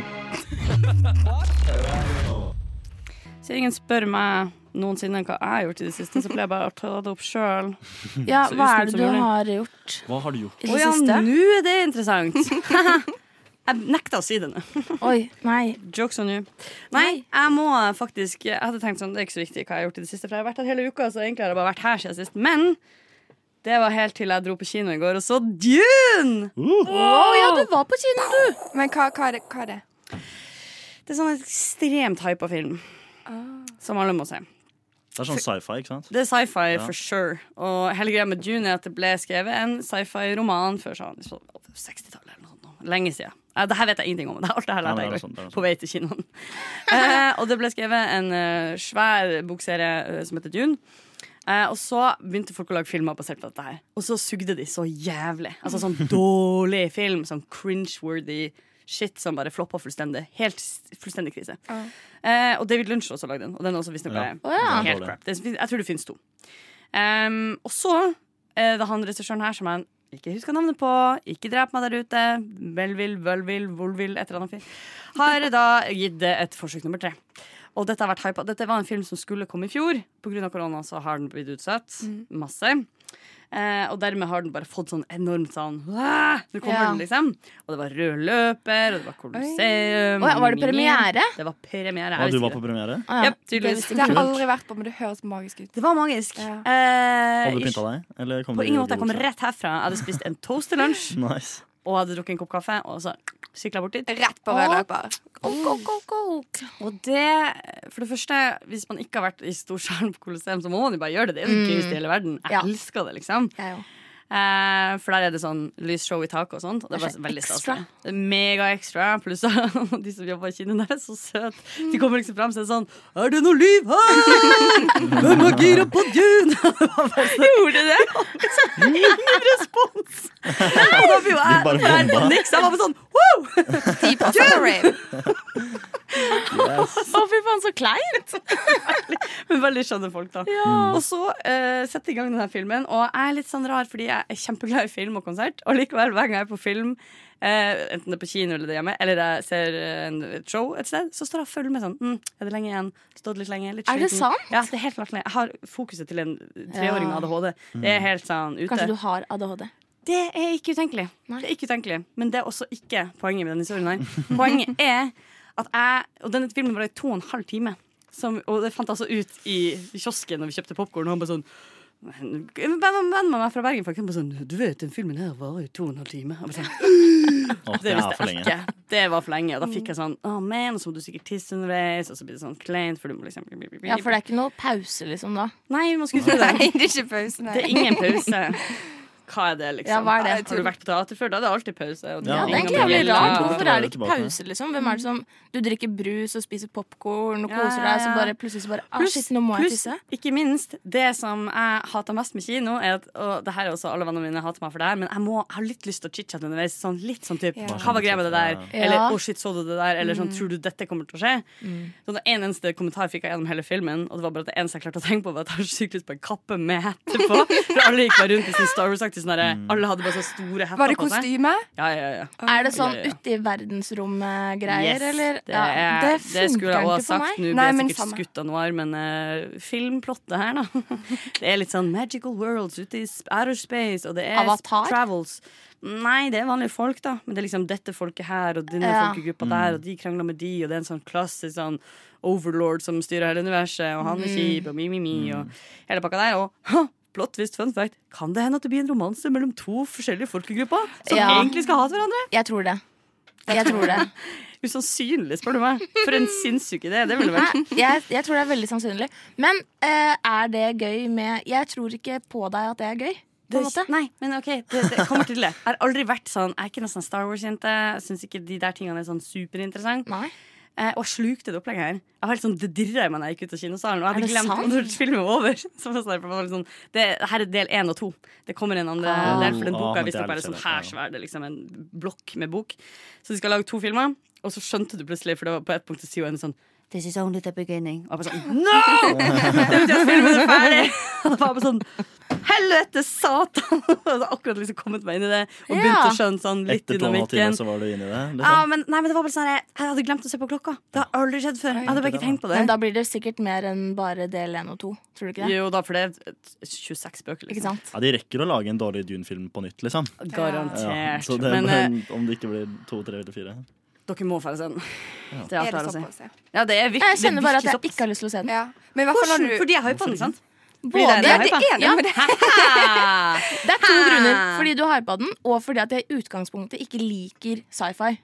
Så ingen spør meg noensinne hva jeg har gjort i det siste, så pleier jeg bare å ta det opp sjøl.
Ja,
Så
hva
usnert
er det
som
du
mulig.
har gjort
Hva har du gjort?
Å
i det
ja,
siste?
nå er det interessant! jeg nekter å si det nå.
Oi, nei.
Jokes on you. Nei, jeg må faktisk Jeg hadde tenkt sånn, det er ikke så viktig hva jeg har gjort i det siste, for jeg har vært her hele uka, så egentlig har jeg bare vært her siden sist. Men det var helt til jeg dro på kino i går og så Dune!
Å ja, du var på kino, du!
Men hva, hva er det? Hva er det?
Det er sånn ekstremt hypa film.
Ah.
Som alle må se.
Det er sånn sci-fi, ikke sant?
Det er sci-fi
Ja.
for sure. Og hele greia med Dune er at det ble skrevet en sci-fi-roman før sånn liksom, 60-tallet eller noe sånt. nå. Lenge siden. Eh, Det her vet jeg ingenting om. Det er alt det her
Ja,
lærte
men
jeg i
det er sånn,
går.
det er sånn.
på vei til kinoen. Eh, og det ble skrevet en eh, svær bokserie eh, som heter Dune. Eh, og så begynte folk å lage filmer basert på dette her. Og så sugde de så jævlig. Altså sånn dårlig film. Sånn cringe-worthy shit som bare floppa fullstendig. Helt s- fullstendig krise. Eh, og David Lunch også lagde den, og den også visstnok ble
Ja.
Å
Den
ja.
er
helt
dårlig.
crap. Det, fin- jeg tror det finnes to. Um, og så er det han regissøren her som jeg ikke husker navnet på. Ikke drep meg der ute. Melville, Vølville, Volville, et eller annet. fyr, Har da gitt det et forsøk nummer tre. Og dette, har vært hypa. dette var en film som skulle komme i fjor. Pga. korona så har den blitt utsatt
Mm.
masse. Eh, og dermed har den bare fått sånn enormt sånn «Åh, Nå kommer
Ja.
den, liksom. Og det var rød løper, og det var Colosseum.
Å ja, var det
Mimir.
premiere?
Det var premiere.
Hva,
jeg
du
visste
var
det.
på premiere?
Å ja.
Japp, tydeligvis.
Det har jeg aldri vært på, men det høres magisk ut.
Det var magisk.
Ja.
Eh,
Hadde du
ikke-
pynta deg? Eller kom
på
du
ingen måte. Jeg kom
joggebukse?
rett herfra. Jeg hadde spist en toast til lunsj
Nice.
og hadde drukket en kopp kaffe. Og så sykla bort dit.
Rett på rød løper.
Go, go, go, go.
Og det, for det første, hvis man ikke har vært i Storsalen på Colosseum, så må man jo bare gjøre det. Det er jo det gøyeste i hele verden. Jeg
Ja.
elsker det, liksom.
Jeg òg.
Eh, for der er det sånn lysshow i taket og sånt. Og det
Det er
var
så
veldig stas.
ekstra.
Det er Mega ekstra. Pluss at de som jobber i kinoen der, er så søte. De kommer liksom fram og er sånn Er det noe liv her? Hvem er gira på Dune? Gjorde det? Ingen respons! Og da blir jo jeg
bare
for jeg er
bomba.
panikk, så jeg var bare sånn wow!
Ti passer på rave.
Å, fy faen, så kleint!
Men veldig skjønne folk, da. Og så uh, setter i gang denne filmen, og jeg er litt sånn rar fordi jeg er kjempeglad i film og konsert. Og likevel, hver gang jeg er på film, eh, enten det er på kino eller det er hjemme, eller jeg ser eh, en, et show et sted, så står jeg og følger med sånn. Mm, er det lenge igjen? Stått litt lenge? Litt
Er det
sliten.
sant?
Ja, det er helt latterlig. Jeg har fokuset til en treåring med
Ja.
ADHD. Det er helt sånn ute.
Kanskje du har ADHD.
Det er ikke utenkelig.
Nei.
Det er ikke utenkelig Men det er også ikke poenget med denne historien. Her. Poenget er at jeg Og denne filmen var i to og en halv time. Som, og det fant jeg altså ut i kiosken når vi kjøpte popkorn. Og han bare sånn en venn venn med meg fra Bergen faktisk, han bare sånn Du vet, den filmen her varer jo to og en halv time. Jeg bare sånn,
Å,
det
det er
visste
for
jeg
lenge.
ikke. Det var for lenge. Og da fikk jeg
Mm.
sånn Å, men, og så må du sikkert tisse underveis, og så blir det sånn kleint, for du må liksom
Ja, for det er ikke noe pause, liksom, da.
Nei, man skulle tro det.
Nei, det er ikke pause, nei.
Det er ingen pause. hva er det, liksom?
Ja, hva er det?
Har du vært på teater før? Da er det alltid pause. og
Ja,
Ja, det er egentlig
Ja.
jævlig rart.
Ja.
Hvorfor er det ikke
Tilbake.
pause, liksom? Hvem er det som Du drikker brus og spiser popkorn og
Ja,
koser
ja,
deg, så
ja.
bare plutselig så bare ah,
Pluss-
shit, nå må jeg
Pluss,
tisse.
ikke minst, det som jeg hater mest med kino, er at, og det her er også alle vennene mine hater meg for det her, men jeg, må, jeg har litt lyst til å chit-chatte underveis. Sånn, litt sånn typ,
Ja.
Hva var greia med det der?
Ja. Mm.
Eller å shit, så du det der? Eller sånn, tror du dette kommer til å skje? Så det en eneste kommentar fikk jeg gjennom hele filmen, og det var bare at det eneste jeg klarte å tenke på, var at jeg har sykt lyst på en kappe med hette på. For alle gikk bare rundt i sin Star Wars-aktig sånn derre Alle hadde bare så store
Var
hetter
det
på seg.
kostyme?
Ja, ja, ja.
Er det sånn
Ja, ja, ja.
ute i verdensrommet-greier,
Yes,
eller?
Det,
Ja,
er-
det
det skulle jeg også
funker
ha
ikke for
sagt.
meg.
Nå blir
Nei,
jeg
men
sikkert
samme.
skutt av noir, men eh, filmplottet her, da. Det er litt sånn magical worlds ute i sp- outer space, og det er
Avatar?
travels. Nei, det er vanlige folk, da. Men det er liksom dette folket her, og denne
Ja.
folkegruppa der, og de krangler med de, og det er en sånn klassisk sånn overlord som styrer hele universet, og
Mm.
han er kjip, og mi-mi-mi, og hele pakka der. Og ha, Blått visst fun fact, kan det hende at det blir en romanse mellom to forskjellige folkegrupper som
Ja.
egentlig skal hate hverandre?
Jeg tror det. Jeg tror det.
Usannsynlig, spør du meg. For en sinnssyk idé. Det ville vært
Nei, jeg, jeg tror det er veldig sannsynlig. Men eh, er det gøy med Jeg tror ikke på deg at det er gøy. På en måte.
Nei, men ok, det, det kommer til det. Jeg har aldri vært sånn, jeg er ikke noe sånn Star Wars-jente. Jeg syns ikke de der tingene er sånn superinteressant.
Nei.
Eh, og jeg slukte det opplegget her. Jeg var helt sånn, Det dirra i meg da jeg gikk ut av kinosalen. Og jeg
Er
hadde
det
glemt
sant?
når filmen var over. Så jeg var bare sånn, det, her er del én og to. Det kommer en andre
Ah.
del, for den
Ah,
boka
men
er
det er
visstnok bare
litt
sånn
kjedelig,
her svær. Det er liksom en blokk med bok. Så de skal lage to filmer, og så skjønte du plutselig, for det var på et punkt så sier jo en sånn This is only the beginning. Og jeg bare sånn No! Det betyr at filmen er ferdig! Og jeg bare sånn Helvete, satan! Og så akkurat liksom kommet meg inn i det og begynte
Ja.
å skjønne sånn litt
Etter to og en halv time
dynamikken.
så var du inne i det? Liksom.
Ja, men, nei, men det var bare sånn her, Jeg hadde glemt å se på klokka. Det har aldri skjedd før. Jeg hadde bare ikke tenkt på det.
Men da blir det sikkert mer enn bare del én og to. Tror du ikke det?
Jo da, for det er 26 bøker,
Ikke
liksom.
sant?
Ja, De rekker å lage en dårlig Dune-film på nytt, liksom. Ja,
Garantert.
så det,
men eh, Mm,
men, om det ikke blir to, tre eller fire.
dere må få se den. Det er
Er
alt
det
jeg har å si.
såpass, ja?
Ja, det er virkelig,
Jeg kjenner bare at
det er
jeg
virkelig
ikke har lyst til å se den.
ja. Men i hvert fall
såpass.
når du
Fordi jeg hypa den, sant? Fordi
Både,
det
det
er det jeg
enig
Ja.
med det.
er to grunner. Fordi du hypa den, og fordi at jeg i utgangspunktet ikke liker sci-fi.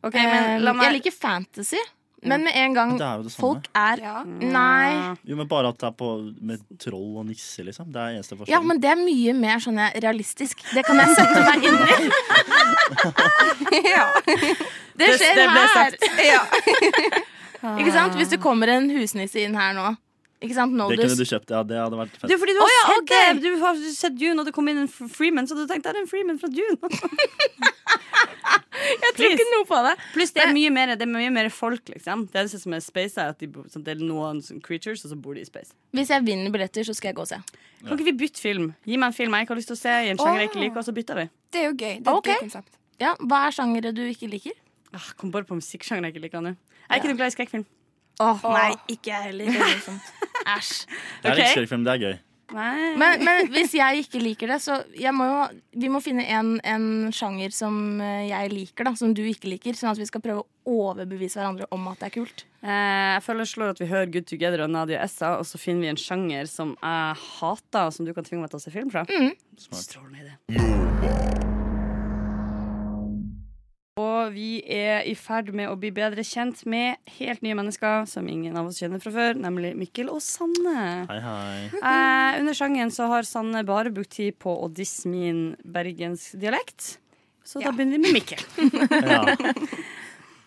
Ok,
Eh,
men la
Jeg
meg
liker fantasy, men med en gang
Det er jo det samme.
folk er
Ja.
Nei.
Jo, men Bare at det er på, med troll og nisser, liksom. Det er eneste forskjellen.
Ja, men det er mye mer sånn jeg, realistisk. Det kan jeg sette meg inn i.
ja.
Det
Det-
skjer
det ble
her.
sagt.
ja.
Ikke sant? Hvis det kommer en husnisse inn her nå. Ikke sant?
det kunne
Noldus.
du kjøpt, ja. Det hadde vært
Det
fett.
er fordi du har
ja,
sett
ok.
det! Du har sett Dune, og det kom inn en fr- Freeman, så du tenkte det er en Freeman fra Dune.
Jeg tror ikke noe på det.
Pluss det er mye mer, det er mye mer folk, liksom. Det eneste som er space, er at de, bo- sånn, det er noen sånn creatures, og så bor de i space.
Hvis jeg vinner billetter, så skal jeg gå og se.
Kan ikke vi bytte film? Gi meg en film jeg ikke har lyst til å se, i en sjanger jeg ikke liker, og så bytter vi.
Det er jo gøy. Det er
Ok.
et gøy konsept.
Ja, Hva er sjangere du ikke liker?
Ah, kom bare på musikksjanger jeg ikke liker nå. Jeg er ikke noe glad i skrekkfilm.
Åh, Nei, ikke jeg heller. Æsj.
Det er
ok.
litt skrekkfilm, det er gøy.
Nei.
Men, men hvis jeg ikke liker det, så jeg må jo, vi må finne en, en sjanger som eh, jeg liker, da, som du ikke liker. Sånn at vi skal prøve å overbevise hverandre om at det er kult.
Eh, jeg føler jeg slår at vi hører Good Together og Nadia Essa, og så finner vi en sjanger som jeg hater, og som du kan tvinge meg til å se film fra.
Mm.
Strålende idé. Og vi er i ferd med å bli bedre kjent med helt nye mennesker som ingen av oss kjenner fra før, nemlig Mikkel og Sanne.
Hei, hei.
Eh, under sangen så har Sanne bare brukt tid på å disse min bergensdialekt, så da
Ja.
begynner vi med Mikkel.
Ja.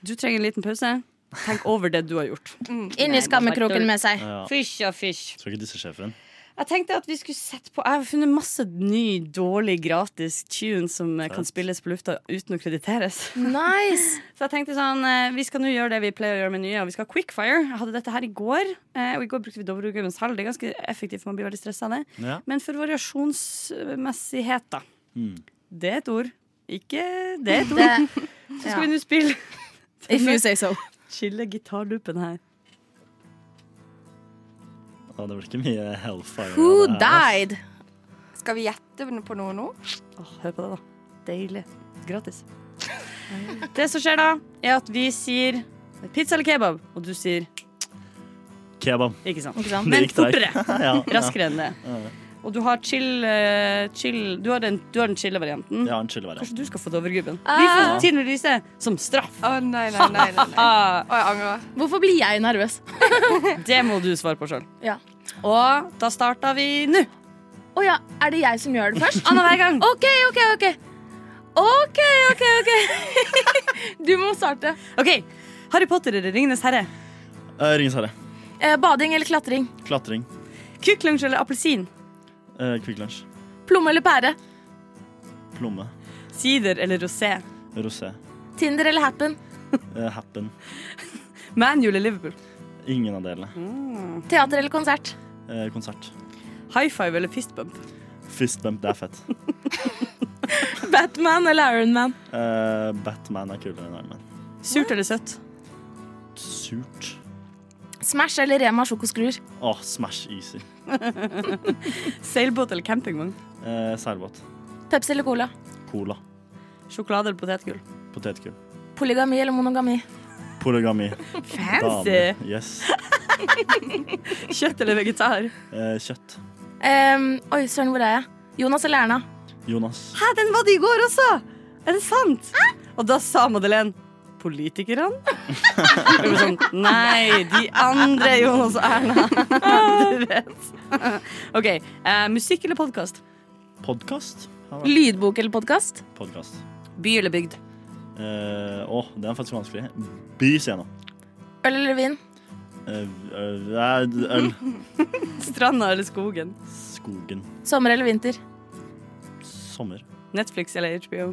Du trenger en liten pause. Tenk over det du har gjort.
Inn i skammekroken med seg.
ja.
Fysj og fysj.
Skal ikke disse sjefen.
Jeg tenkte at vi skulle sett på Jeg har funnet masse ny, dårlig, gratis tune som eh, kan
Sant.
spilles på lufta uten å krediteres.
Nice!
Så jeg tenkte sånn eh, Vi skal nå gjøre det vi pleier å gjøre med nye, og vi skal ha quickfire. Jeg hadde dette her i går, eh, og i går brukte vi Dovregubbens hall. Det er ganske effektivt, for man blir veldig stressa av det.
Ja.
Men for variasjonsmessighet, da.
Mm.
Det er et ord. Ikke Det er et
Det,
ord. Så skal vi nå spille
If you say so.
Chille gitarduppen her.
Ja, det blir ikke mye hellfire.
who
av det her, ass.
died?
Skal vi gjette på noe nå?
Åh, hør på det, da. Deilig. Gratis. Det som skjer da, er at vi sier pizza eller kebab, og du sier
Kebab.
ikke sant.
Ikke sant?
Men
gikk treigt.
fortere.
Ja,
Raskere enn det. Og du har chill, eh, chill Du har den, du har den chille varianten.
Ja, en chillevariant.
Kanskje du skal få Dovregubben. Vi får tiden vil vise som straff.
Å nei, nei, nei. nei, nei.
Ah,
Å, jeg angrer.
Hvorfor blir jeg nervøs?
det må du svare på sjøl.
Ja.
Og da starter vi nå.
Å ja, er det jeg som gjør det først?
Anna hver gang.
OK, OK, OK. OK, OK, OK. Du må starte.
OK. Harry Potter eller Ringenes herre?
Eh, Ringenes herre.
Eh, bading eller klatring?
Klatring.
Kvikk Lunsj eller appelsin?
Eh, Quick Lunch.
Plomme eller pære?
Plomme.
Sider eller rosé?
Rosé.
Tinder eller Happen?
Eh, happen.
Manjul eller Liverpool?
Ingen av delene.
Teater eller konsert?
Eh, konsert.
High five eller fist bump?
Fist bump, det er fett.
Batman eller Iron Man?
Eh, Batman er kulere enn Iron Man.
Surt eller søtt?
Surt.
Smash eller Rema sjokoskruer?
Åh, Smash Easy.
Seilbåt eller campingvogn?
Eh, seilbåt.
Pepsi eller Cola?
Cola.
Sjokolade eller potetgull?
Potetgull.
Polygami eller monogami?
Polygami.
Fancy!
Dame. Yes.
Kjøtt eller vegetar?
Eh, kjøtt.
Ehm, oi, søren, hvor er jeg? Jonas eller Erna?
Jonas.
Hæ, den var det i går også! Er det sant? Og da sa Madeleine Politikerne? Jeg ble sånn, Nei, de andre, Jonas og Erna. Du vet. OK. Eh, musikk eller podkast?
Podkast?
Lydbok eller podkast?
Podkast.
By eller bygd?
Eh, åh, det er faktisk vanskelig. By scena.
Øl eller vin?
Eh, øl- eh, øl.
Stranda eller skogen?
Skogen.
Sommer eller vinter?
Sommer.
Netflix eller HBO?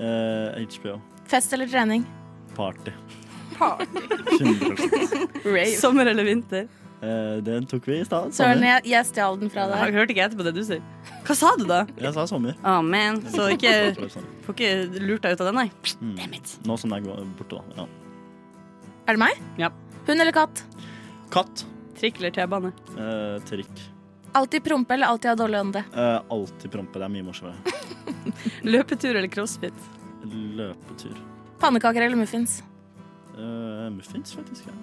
Eh, HBO.
Fest eller trening?
Party.
Party.
100%.
Rave.
Sommer eller vinter?
Eh, den tok vi i stad.
Søren,
Sommer.
jeg, jeg stjal den fra
Jeg
deg.
hørte ikke etterpå det du sier. Hva sa du da?
Jeg sa sommer.
Amen. Så ikke,
Absolutt sommer.
får ikke lurt deg ut av den, nei.
Mm.
Damn it.
Nå som den er borte, da. Ja.
Er det meg?
Ja.
Hund eller katt?
Katt.
Trikk eller T-bane?
Eh, trikk.
Alltid prompe eller alltid ha dårlig ånde?
Eh, alltid prompe. Det er mye morsommere.
Løpetur eller crossfit?
Løpetur.
Pannekaker eller muffins?
Eh, muffins, faktisk. Ja.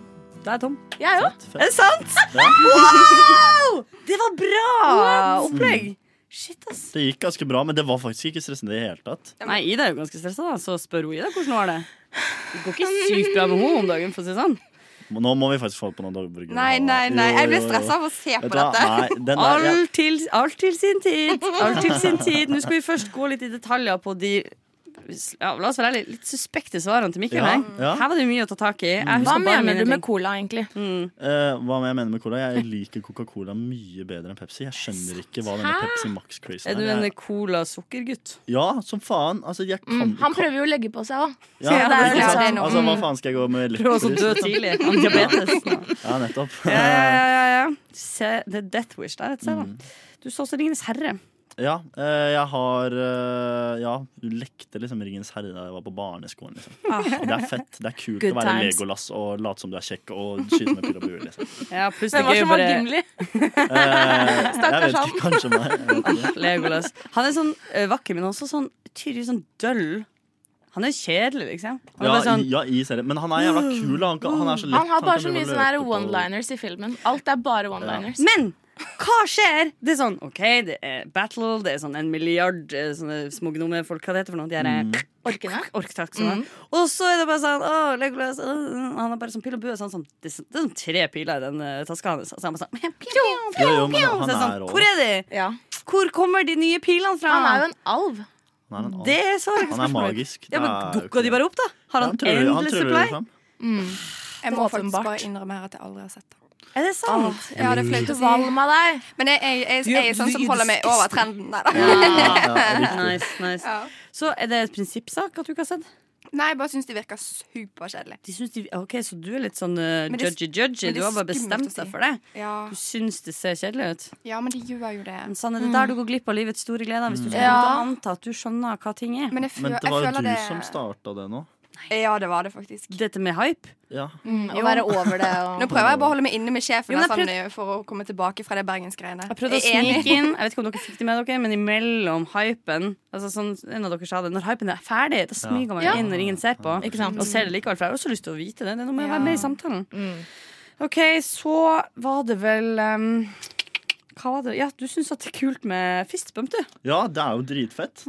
Det er Tom.
Jeg òg.
Fett,
Er
fett.
det sant?
Ja.
Wow! Det var bra opplegg. Shit, ass.
Det gikk ganske bra, men det var faktisk ikke stressende i det hele tatt.
Nei, Ida er jo ganske stressa, da, så spør hun Ida hvordan hun har det. Det går ikke sykt bra med henne om dagen, for å si det sånn.
Men Nå må vi faktisk få på noen dagburgere.
Nei, nei, nei. Jeg ble stressa av å se på
Vet du hva?
dette.
Nei, den der, jeg,
Alt til, alt til sin tid. Alt til sin tid. Nå skal vi først gå litt i detaljer på de ja, La oss være ærlige, litt suspekte svarene til Mikkel.
Ja,
her.
ja.
Her var det mye å ta tak i. Jeg
Hva
husker bare
mener
mine
du
ting.
med cola, egentlig?
Eh, hva jeg mener med cola? Jeg liker Coca-Cola mye bedre enn Pepsi. Jeg skjønner ikke hva denne Pepsi Max-crazen
Er du
er.
en
Jeg-
cola-sukkergutt?
Ja, som faen. Altså, jeg kan
Mm. Han prøver jo å legge på seg òg.
Ja, liksom-
ja, det er
det er
ikke sant.
noe.
Altså, hva faen skal jeg gå med
Mm. Prøv også å dø
lettbrus?
tidlig. Om diabetes.
Ja, nettopp.
Ja, ja, ja, ja, ja. Se, det er Death Wish der et sted. da. Du så også Ringenes herre.
Ja, eh, jeg har eh, Ja, du lekte liksom Ringens herre da jeg var på barneskolen. Liksom.
Ah.
Det er fett. Det er kult
Good
å være
times.
Legolas og late som du er kjekk og skyte med pil og bue. Liksom.
Ja, pluss det
Hvem var
gøy
som var
bare
Gimli?
Eh, jeg
Stakkars
vet ikke, kanskje meg. Jeg vet ikke.
Legolas. Han er sånn eh, vakker, men også sånn tydelig sånn døll. Han er kjedelig, liksom. Han er
Ja,
bare sånn
i- ja, i serien. Men han er jævla kul. da. Han, kan, han er så lett.
Han har bare
kan
så
drive
mye
og
sånn
sånne her
løpe på-
one-liners i filmen. Alt er bare one-liners.
Men hva skjer? Det er sånn, ok, det er battle, det er sånn en milliard eh, sånne små gnomefolk, hva det heter for noe, de er mm.
Orkene.
orktaksoner. Og så er det bare sånn, åh, Legolas, øh, øh, han har bare sånn pil og bue, sånn, sånn, det, er sånn, det er sånn tre piler i den eh, taska hans, og så er han bare sånn, pjo, pjo, pjo,
Jo, jo, men
så
han
er det
er
sånn,
rå.
hvor er de?
Ja.
Hvor kommer de nye pilene fra?
Han er jo en alv.
Han er, en annen.
Det er så
han er magisk.
Ja, men
Det er jo ikke
dukker de
det.
bare opp da? Har han,
Han trøller- han liksom-
endelig
trøller
supply?
fram.
Jeg må faktisk
Åpenbart.
bare innrømme her at jeg aldri har sett det.
Er det sant?
Ja, det er flaut å si.
Valm av deg.
Men jeg, jeg, jeg,
Du er
jeg er sånn som holder meg over trenden. Nei, da.
Ja, riktig.
Nice, nice.
Ja.
Så er det et prinsippsak at du ikke har sett?
Nei, jeg bare syns de virker superkjedelig.
De syns de, ok, Så du er litt sånn eh,
Men det-
judgy-judgy?
men det
Du har bare
er
bestemt
skummelt å si.
deg for det?
Ja.
Du syns det ser kjedelig ut?
ja, men de gjør jo det.
Men sånn er det
Mm.
der du går glipp av livets store gleder hvis du skal
Ja.
begynne å anta at du skjønner hva ting er.
Men, jeg
Men
føl-
det var
jeg
jo
føler
du
det
som starta det nå.
Ja, det var det faktisk.
Dette med hype?
Ja.
Mm.
Mm,
Å være over det. Og...
Nå prøver jeg bare å holde meg inne med sjefen
Jo, men jeg
sånn, for å komme tilbake fra det bergensgreiene.
Jeg prøvde å
er enig.
snike inn Jeg vet ikke om dere fikk det med dere, men imellom hypen altså sånn, en av dere sa det, Når hypen er ferdig, da smyger man
Ja.
inn når ingen ser på.
Ikke sant?
Og ser det likevel, for jeg har også lyst til å vite det. det er noe med å
Ja.
være med i samtalen. OK, så var det vel ehm, Hva var det? Ja, du syns at det er kult med fistbump, du. Mm,
ja, det er jo dritfett.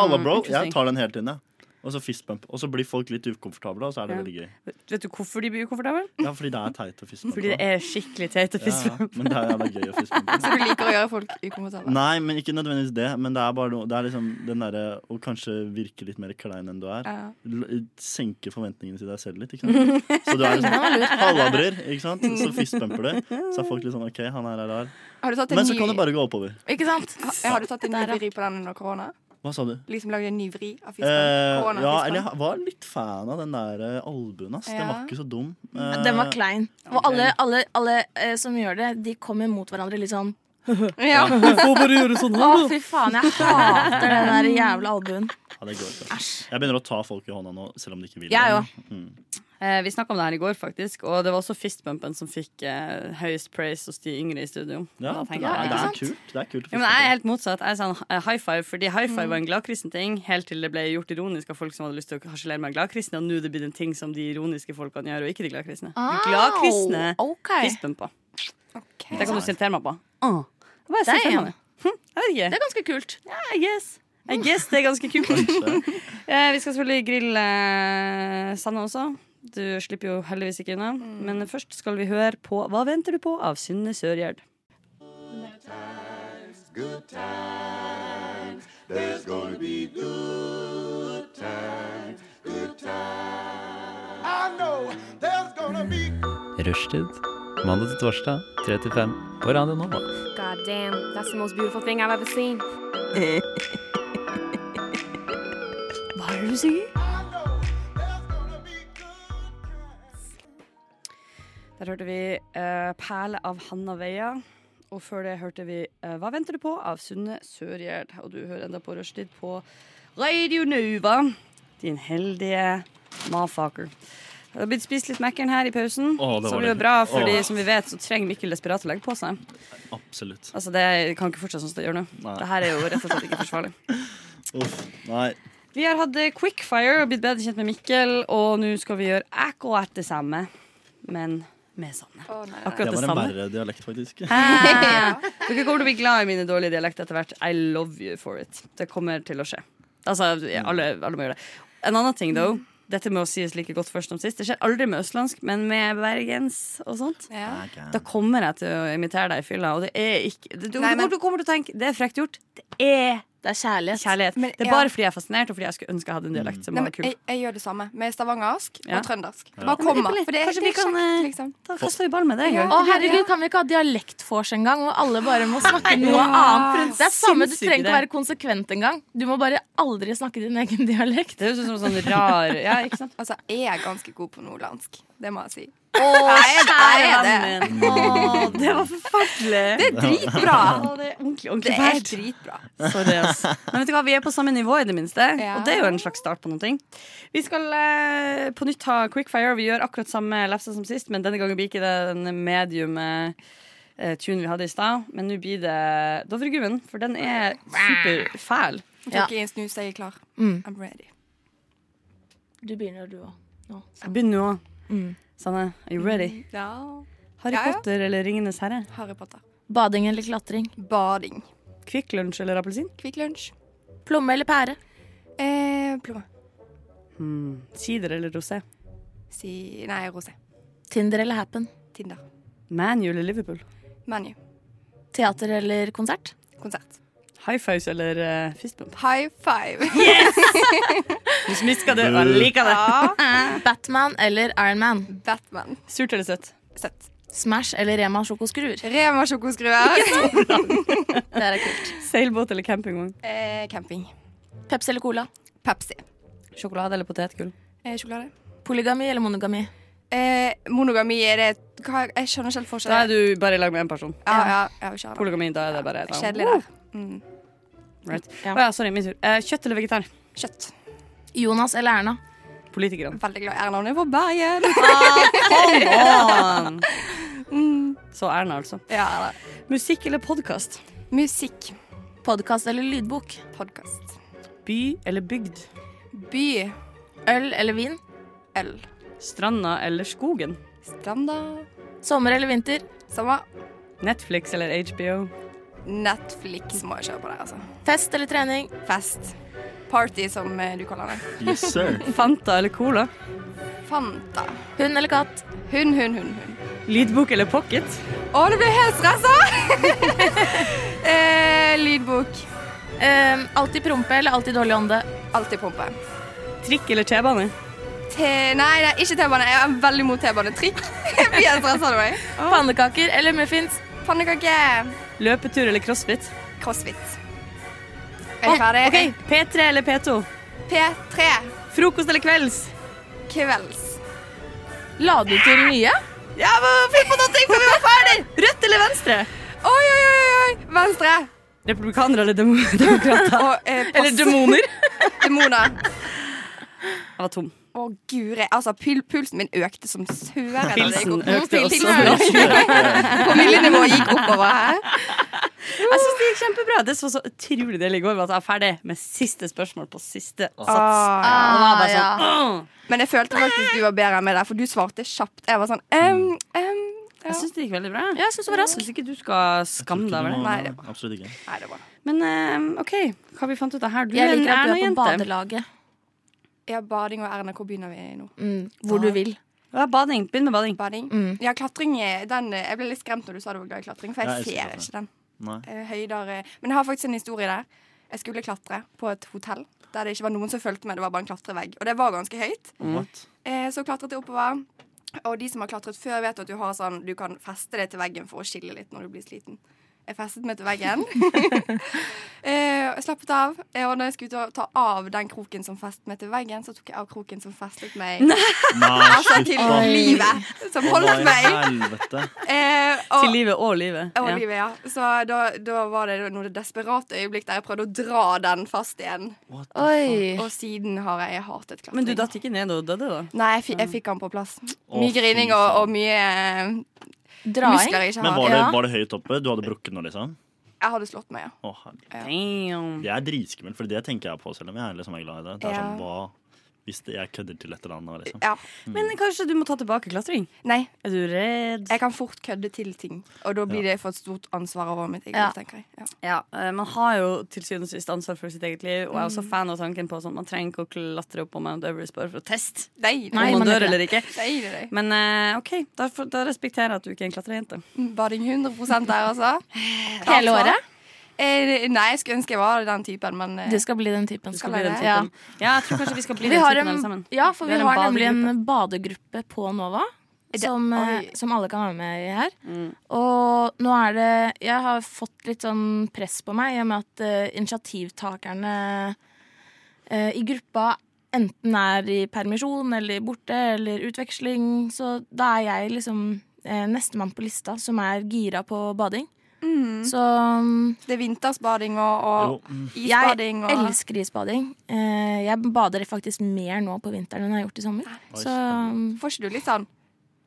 Halla, bro. Jeg tar den helt inn, jeg. Og så fistbump. Og så blir folk litt ukomfortable, og så er det
Ja.
veldig gøy.
Vet du hvorfor de blir ukomfortable?
Ja, fordi det er teit å fistbumpe.
Fordi det er skikkelig teite
ja, ja.
fistbump.
Men det er jævla gøy å fistbumpe.
Så du liker å gjøre folk ukomfortable?
Nei, men ikke nødvendigvis det. Men det er bare noe, det er liksom den derre å kanskje virke litt mer klein enn du er.
Ja.
L- eh, Senke forventningene til deg selv litt, ikke sant. Så du er liksom halvabrer, ikke sant. Så fistbumper du. Så er folk litt sånn OK, han her er rar.
Har du tatt en
Men
ny,
så kan det bare gå oppover.
Ikke sant?
Ha- har du tatt en ny vri på den under korona?
Hva sa du?
Liksom lagd en ny vri av
Eh,
fisken?
ja,
Koronafisken?
eller jeg var litt fan av den der eh, albuen, ass. Den
Ja.
var ikke så dum. Eh,
Den var klein. Og alle, alle, alle eh, som gjør det, de kommer mot hverandre litt sånn
Ja.
Å, fy faen, jeg hater den der jævla albuen.
Ja, det går ikke. Jeg begynner å ta folk i hånda nå, selv om de ikke vil.
Jeg
det.
òg.
Eh, vi snakka om det her i går, faktisk, og det var også fistbumpen som fikk eh, høyest praise hos de yngre i studio.
Ja,
Da
det,
tenker
er,
jeg,
det
ja.
er kult. Det er kult å
Ja, men jeg
fistbumpe.
er helt motsatt. Jeg er sånn eh, high five, fordi high
Mm.
five var en gladkristen ting, helt til det ble gjort ironisk av folk som hadde lyst til å harselere med gladkristne, og nå er det blitt en ting som de ironiske folkene gjør, og ikke de gladkristne. De gladkristne
Au, ok.
fistbumpa.
Ok.
Det kan du sitere meg på. Ah, det var jeg
Damn.
sitere meg med. Hm, Jeg
Det
vet ikke.
er ganske kult.
I guess. I guess det er ganske kult.
Kanskje.
Eh, vi skal selvfølgelig grille eh, Sanne også. Du slipper jo heldigvis ikke unna.
Mm.
Men først skal vi høre på Hva venter du på? av Synne Sørgjerd.
Rushtid. Mandag til torsdag, 3 til 5 på Radio Nova.
God damn, that's the most beautiful thing I've ever seen.
Hva er det du sier? Der hørte vi eh, 'Perle' av Hanna Veia. Og før det hørte vi eh, 'Hva venter du på?' av Sunne Sørgjerd. Og du hører enda på Rushtid på Radio Nova. Din heldige mafaker. Det har blitt spist litt Mækkern her i pausen,
Å, det
som
var
jo er
det.
bra, fordi
Å.
som vi vet, så trenger Mikkel desperat å legge på seg.
Absolutt.
Altså, Det kan ikke fortsette sånn som det gjør nå.
Nei.
Det her er jo rett og slett ikke forsvarlig.
Uff, nei.
Vi har hatt eh, Quickfire og blitt bedre kjent med Mikkel, og nå skal vi gjøre akkurat det samme, men med Sanne.
Å, nei, nei.
Akkurat det
Det var en
samme.
verre dialekt, faktisk.
Dere kommer til å bli glad i mine dårlige dialekter etter hvert. I love you for it. Det kommer til å skje. Altså, alle, alle må gjøre det. En annen ting, though. Dette med å sies like godt først som sist. Det skjer aldri med østlandsk, men med bergens og sånt.
Ja.
Da kommer jeg til å imitere deg i fylla, og det er ikke Du, du,
Nei, men-
du kommer til å tenke det er frekt gjort. Det er
Det er kjærlighet.
kjærlighet.
Men-
det er
ja.
bare fordi jeg er fascinert, og fordi jeg skulle ønske jeg hadde en dialekt som var
Nei, men eh,
kul.
jeg, jeg gjør det samme med stavangersk
Ja.
og trøndersk. Det
Ja.
Bare kommer.
Nei, men
For det,
kanskje vi
det er
kan,
kjekt,
eh,
liksom.
Da kaster vi ball med det.
Ja.
Å, herregud, kan vi ikke ha dialektfors en gang, hvor alle bare må snakke noe
Ja.
annet? Det er samme, Du
Sinnssyk
trenger ikke
idé.
å være konsekvent engang. Du må bare aldri snakke din egen dialekt.
Det høres ut som sånn rar Ja, ikke sant?
Altså, jeg er ganske god på nordlandsk. Det må jeg si.
Å,
kjære
vennen min. Å, det var forferdelig.
Det er dritbra!
Å, det er ordentlig,
Det
ordentlig
er
fælt.
dritbra.
Sorry, ass. Men vet du hva, vi er på samme nivå, i det minste.
Ja.
Og det er jo en slags start på noen ting. Vi skal eh, på nytt ha quickfire. Vi gjør akkurat samme lefse som sist, men denne gangen blir ikke det den medium eh, tune vi hadde i stad. Men nå blir det Dovreguven, for den er superfæl.
Jeg
Ja.
tok i en snus, jeg er klar.
Mm.
I'm ready.
Du begynner, du òg. Nå.
Begynn nå. Sanne, are you ready?
Ja.
Harry
Mm. Ja, ja.
Potter eller Ringenes herre?
Harry Potter.
Bading eller klatring?
Bading.
Kvikk Lunsj eller appelsin?
Kvikk Lunsj.
Plomme eller pære?
Eh, Plomme.
Hmm. Sider eller rosé?
Si Nei, rosé.
Tinder eller Happen?
Tinder.
ManU eller Liverpool?
Menu.
Teater eller konsert?
Konsert.
High fives eller eh, fistbump?
High five.
Du smiska det og liker det.
Batman eller Iron Man?
Batman.
Surt eller søtt?
Søtt.
Smash eller Rema sjokoskruer?
Rema sjokoskruer.
Det er kult.
Seilbåt eller campingvogn?
Eh, camping.
Pepsi eller Cola?
Pepsi.
Sjokolade eller potetgull?
Eh, sjokolade.
Polygami eller monogami?
Eh, monogami er det hva, Jeg skjønner ikke helt
Da er
forskjellen.
du bare i lag med én person.
Ja, ja, ja, vi kjører det.
Polygami, da er det bare da-
Kjedelig der. Mm.
Right.
Ja.
Å ja, sorry, min tur. Eh, kjøtt eller vegetar?
Kjøtt.
Jonas eller Erna?
Politikerne.
Veldig glad i Erna. Hun er fra Bergen.
Come on! Så Erna, altså.
Ja, da.
Musikk eller podkast?
Musikk.
Podkast eller lydbok?
Podkast.
By eller bygd?
By.
Øl eller vin?
Øl.
Stranda eller skogen?
Standard.
Sommer eller vinter?
Sommer.
Netflix eller HBO?
Netflix må jeg kjøre på der, altså.
Fest eller trening?
Fest. Party, som eh, du kaller det.
Yes, sir.
Fanta eller Cola?
Fanta.
Hund eller katt?
Hun, hun, hun, hun.
Lydbok eller pocket?
Å, nå ble jeg helt stressa! eh, lydbok.
Eh, alltid prompe eller alltid dårlig ånde?
Alltid pumpe.
Trikk eller T-bane?
T nei, nei, ikke T-bane. Jeg er veldig mot T-bane. Trikk. Jeg blir helt stressa av meg.
Pannekaker eller muffins?
Pannekake.
Løpetur eller crossfit?
Crossfit. Er vi ferdig?
OK, P3 eller P2?
P3.
Frokost eller kvelds?
Kvelds.
La du til nye?
Ja, men finn på noe, for vi var ferdig! Rødt eller venstre?
Oi, oi, oi, oi. Venstre.
Republikanere eller demo demokrater?
Og eh, pass.
Eller demoner?
demoner.
Jeg var tom.
Å, guri. Altså, pul pulsen min økte som søren. da det gikk
Pilsen
opp.
økte
Pilsen
også.
økte. Promillenivået gikk oppover her.
Jeg syns det gikk kjempebra. Det som var så utrolig deilig i går, var at jeg er ferdig med siste spørsmål på siste sats.
Ah,
Og det var bare
Ah,
sånn «Åh!»
Men jeg følte faktisk du var bedre enn meg der, for du svarte kjapt. Jeg var sånn em, em. Ja.
Jeg syns det gikk veldig bra.
Ja, jeg synes det var raskt.
Syns ikke du skal skamme deg
Ikke
over det.
noe-
Nei, det
Absolutt ikke.
Nei, det var
Men eh, OK, hva vi fant ut av her? Du
Jeg
er en
liker at du er på
Erna-jente.
badelaget.
Ja, bading og Erna, hvor begynner vi nå?
Mm, hvor du vil.
Ja, bading. Begynn med bading.
Bading?
Mm.
Ja, klatring eh, den, eh, Jeg ble litt skremt når du sa du var glad i klatring, for
Ja,
jeg, ser
jeg elsker klatring.
ikke den.
Nei.
Eh, Høyder eh, Men jeg har faktisk en historie der. Jeg skulle klatre på et hotell der det ikke var noen som fulgte med. Det var bare en klatrevegg. Og det var ganske høyt.
What?
Eh, Så klatret jeg oppover. Og de som har klatret før, vet at du har sånn Du kan feste det til veggen for å skille litt når du blir sliten. Jeg festet meg til veggen. Eh, og jeg slappet av. Eh, Og når jeg skulle ta- ta av den kroken som festet meg til veggen, så tok jeg av kroken som festet meg
Nei,
altså, til
slutt, da.
livet. Som holdt
Hva
meg.
i helvete?
Eh, og,
Til livet og livet.
og
Ja.
livet, ja. Så da, da var det noen desperate øyeblikk der jeg prøvde å dra den fast igjen.
What the
Oi.
Og siden har jeg hatet klatring.
Men du datt ikke ned og døde, da?
Nei, jeg,
Mm.
fi- jeg fikk den på plass.
Å,
Mye
fy
grining og,
faen.
og mye eh,
Draing.
muskler jeg ikke
Men
har.
var det,
Ja.
var det høyt oppe? Du hadde brukket nå, liksom?
Jeg hadde slått meg, ja.
Å,
Damn.
herregud. Jeg er dritskummel, for det tenker jeg på, selv om jeg er, liksom er glad i det. Det er
Ja.
sånn, hva hvis det, jeg kødder til et eller annet? Liksom.
ja.
Men kanskje du må ta tilbake klatring?
Nei,
Er du redd?
jeg kan fort kødde til ting, og da blir det for et stort ansvar over mitt eget,
Ja.
tenker jeg. Ja.
Ja, eh, Man har jo til syvende og sist ansvar for sitt eget liv. Og jeg er
Hmm.
også fan av tanken på sånn at man trenger ikke å klatre opp på Mount Everest bare for å teste
Nei,
om
nei,
man
man gjør
dør
ikke
eller ikke.
nei, nei, nei.
Men eh, OK, da, får- da respekterer jeg at du ikke er en klatrejente.
Bading 100 der, altså.
Hele året?
Eh, nei, jeg skulle ønske jeg var den typen, men eh,
Du skal bli den typen.
skal bli den
Ja.
typen. Ja, jeg tror kanskje vi skal bli
Vi
den
har
typen alle
en,
sammen.
ja, for
Vi
vi
har en
har nemlig en badegruppe på Nova. Som, eh,
oi.
som alle kan være med i her. Og nå er det Jeg har fått litt sånn press på meg i og med at eh, initiativtakerne eh, i gruppa enten er i permisjon eller borte eller utveksling. Så da er jeg liksom eh, nestemann på lista som er gira på bading. Så mm,
det er vintersbading og, og
Jo, mm,
jeg
isbading og
elsker isbading. Eh, jeg bader faktisk mer nå på vinteren enn jeg har gjort i sommer. Så mm,
Får ikke du litt sånn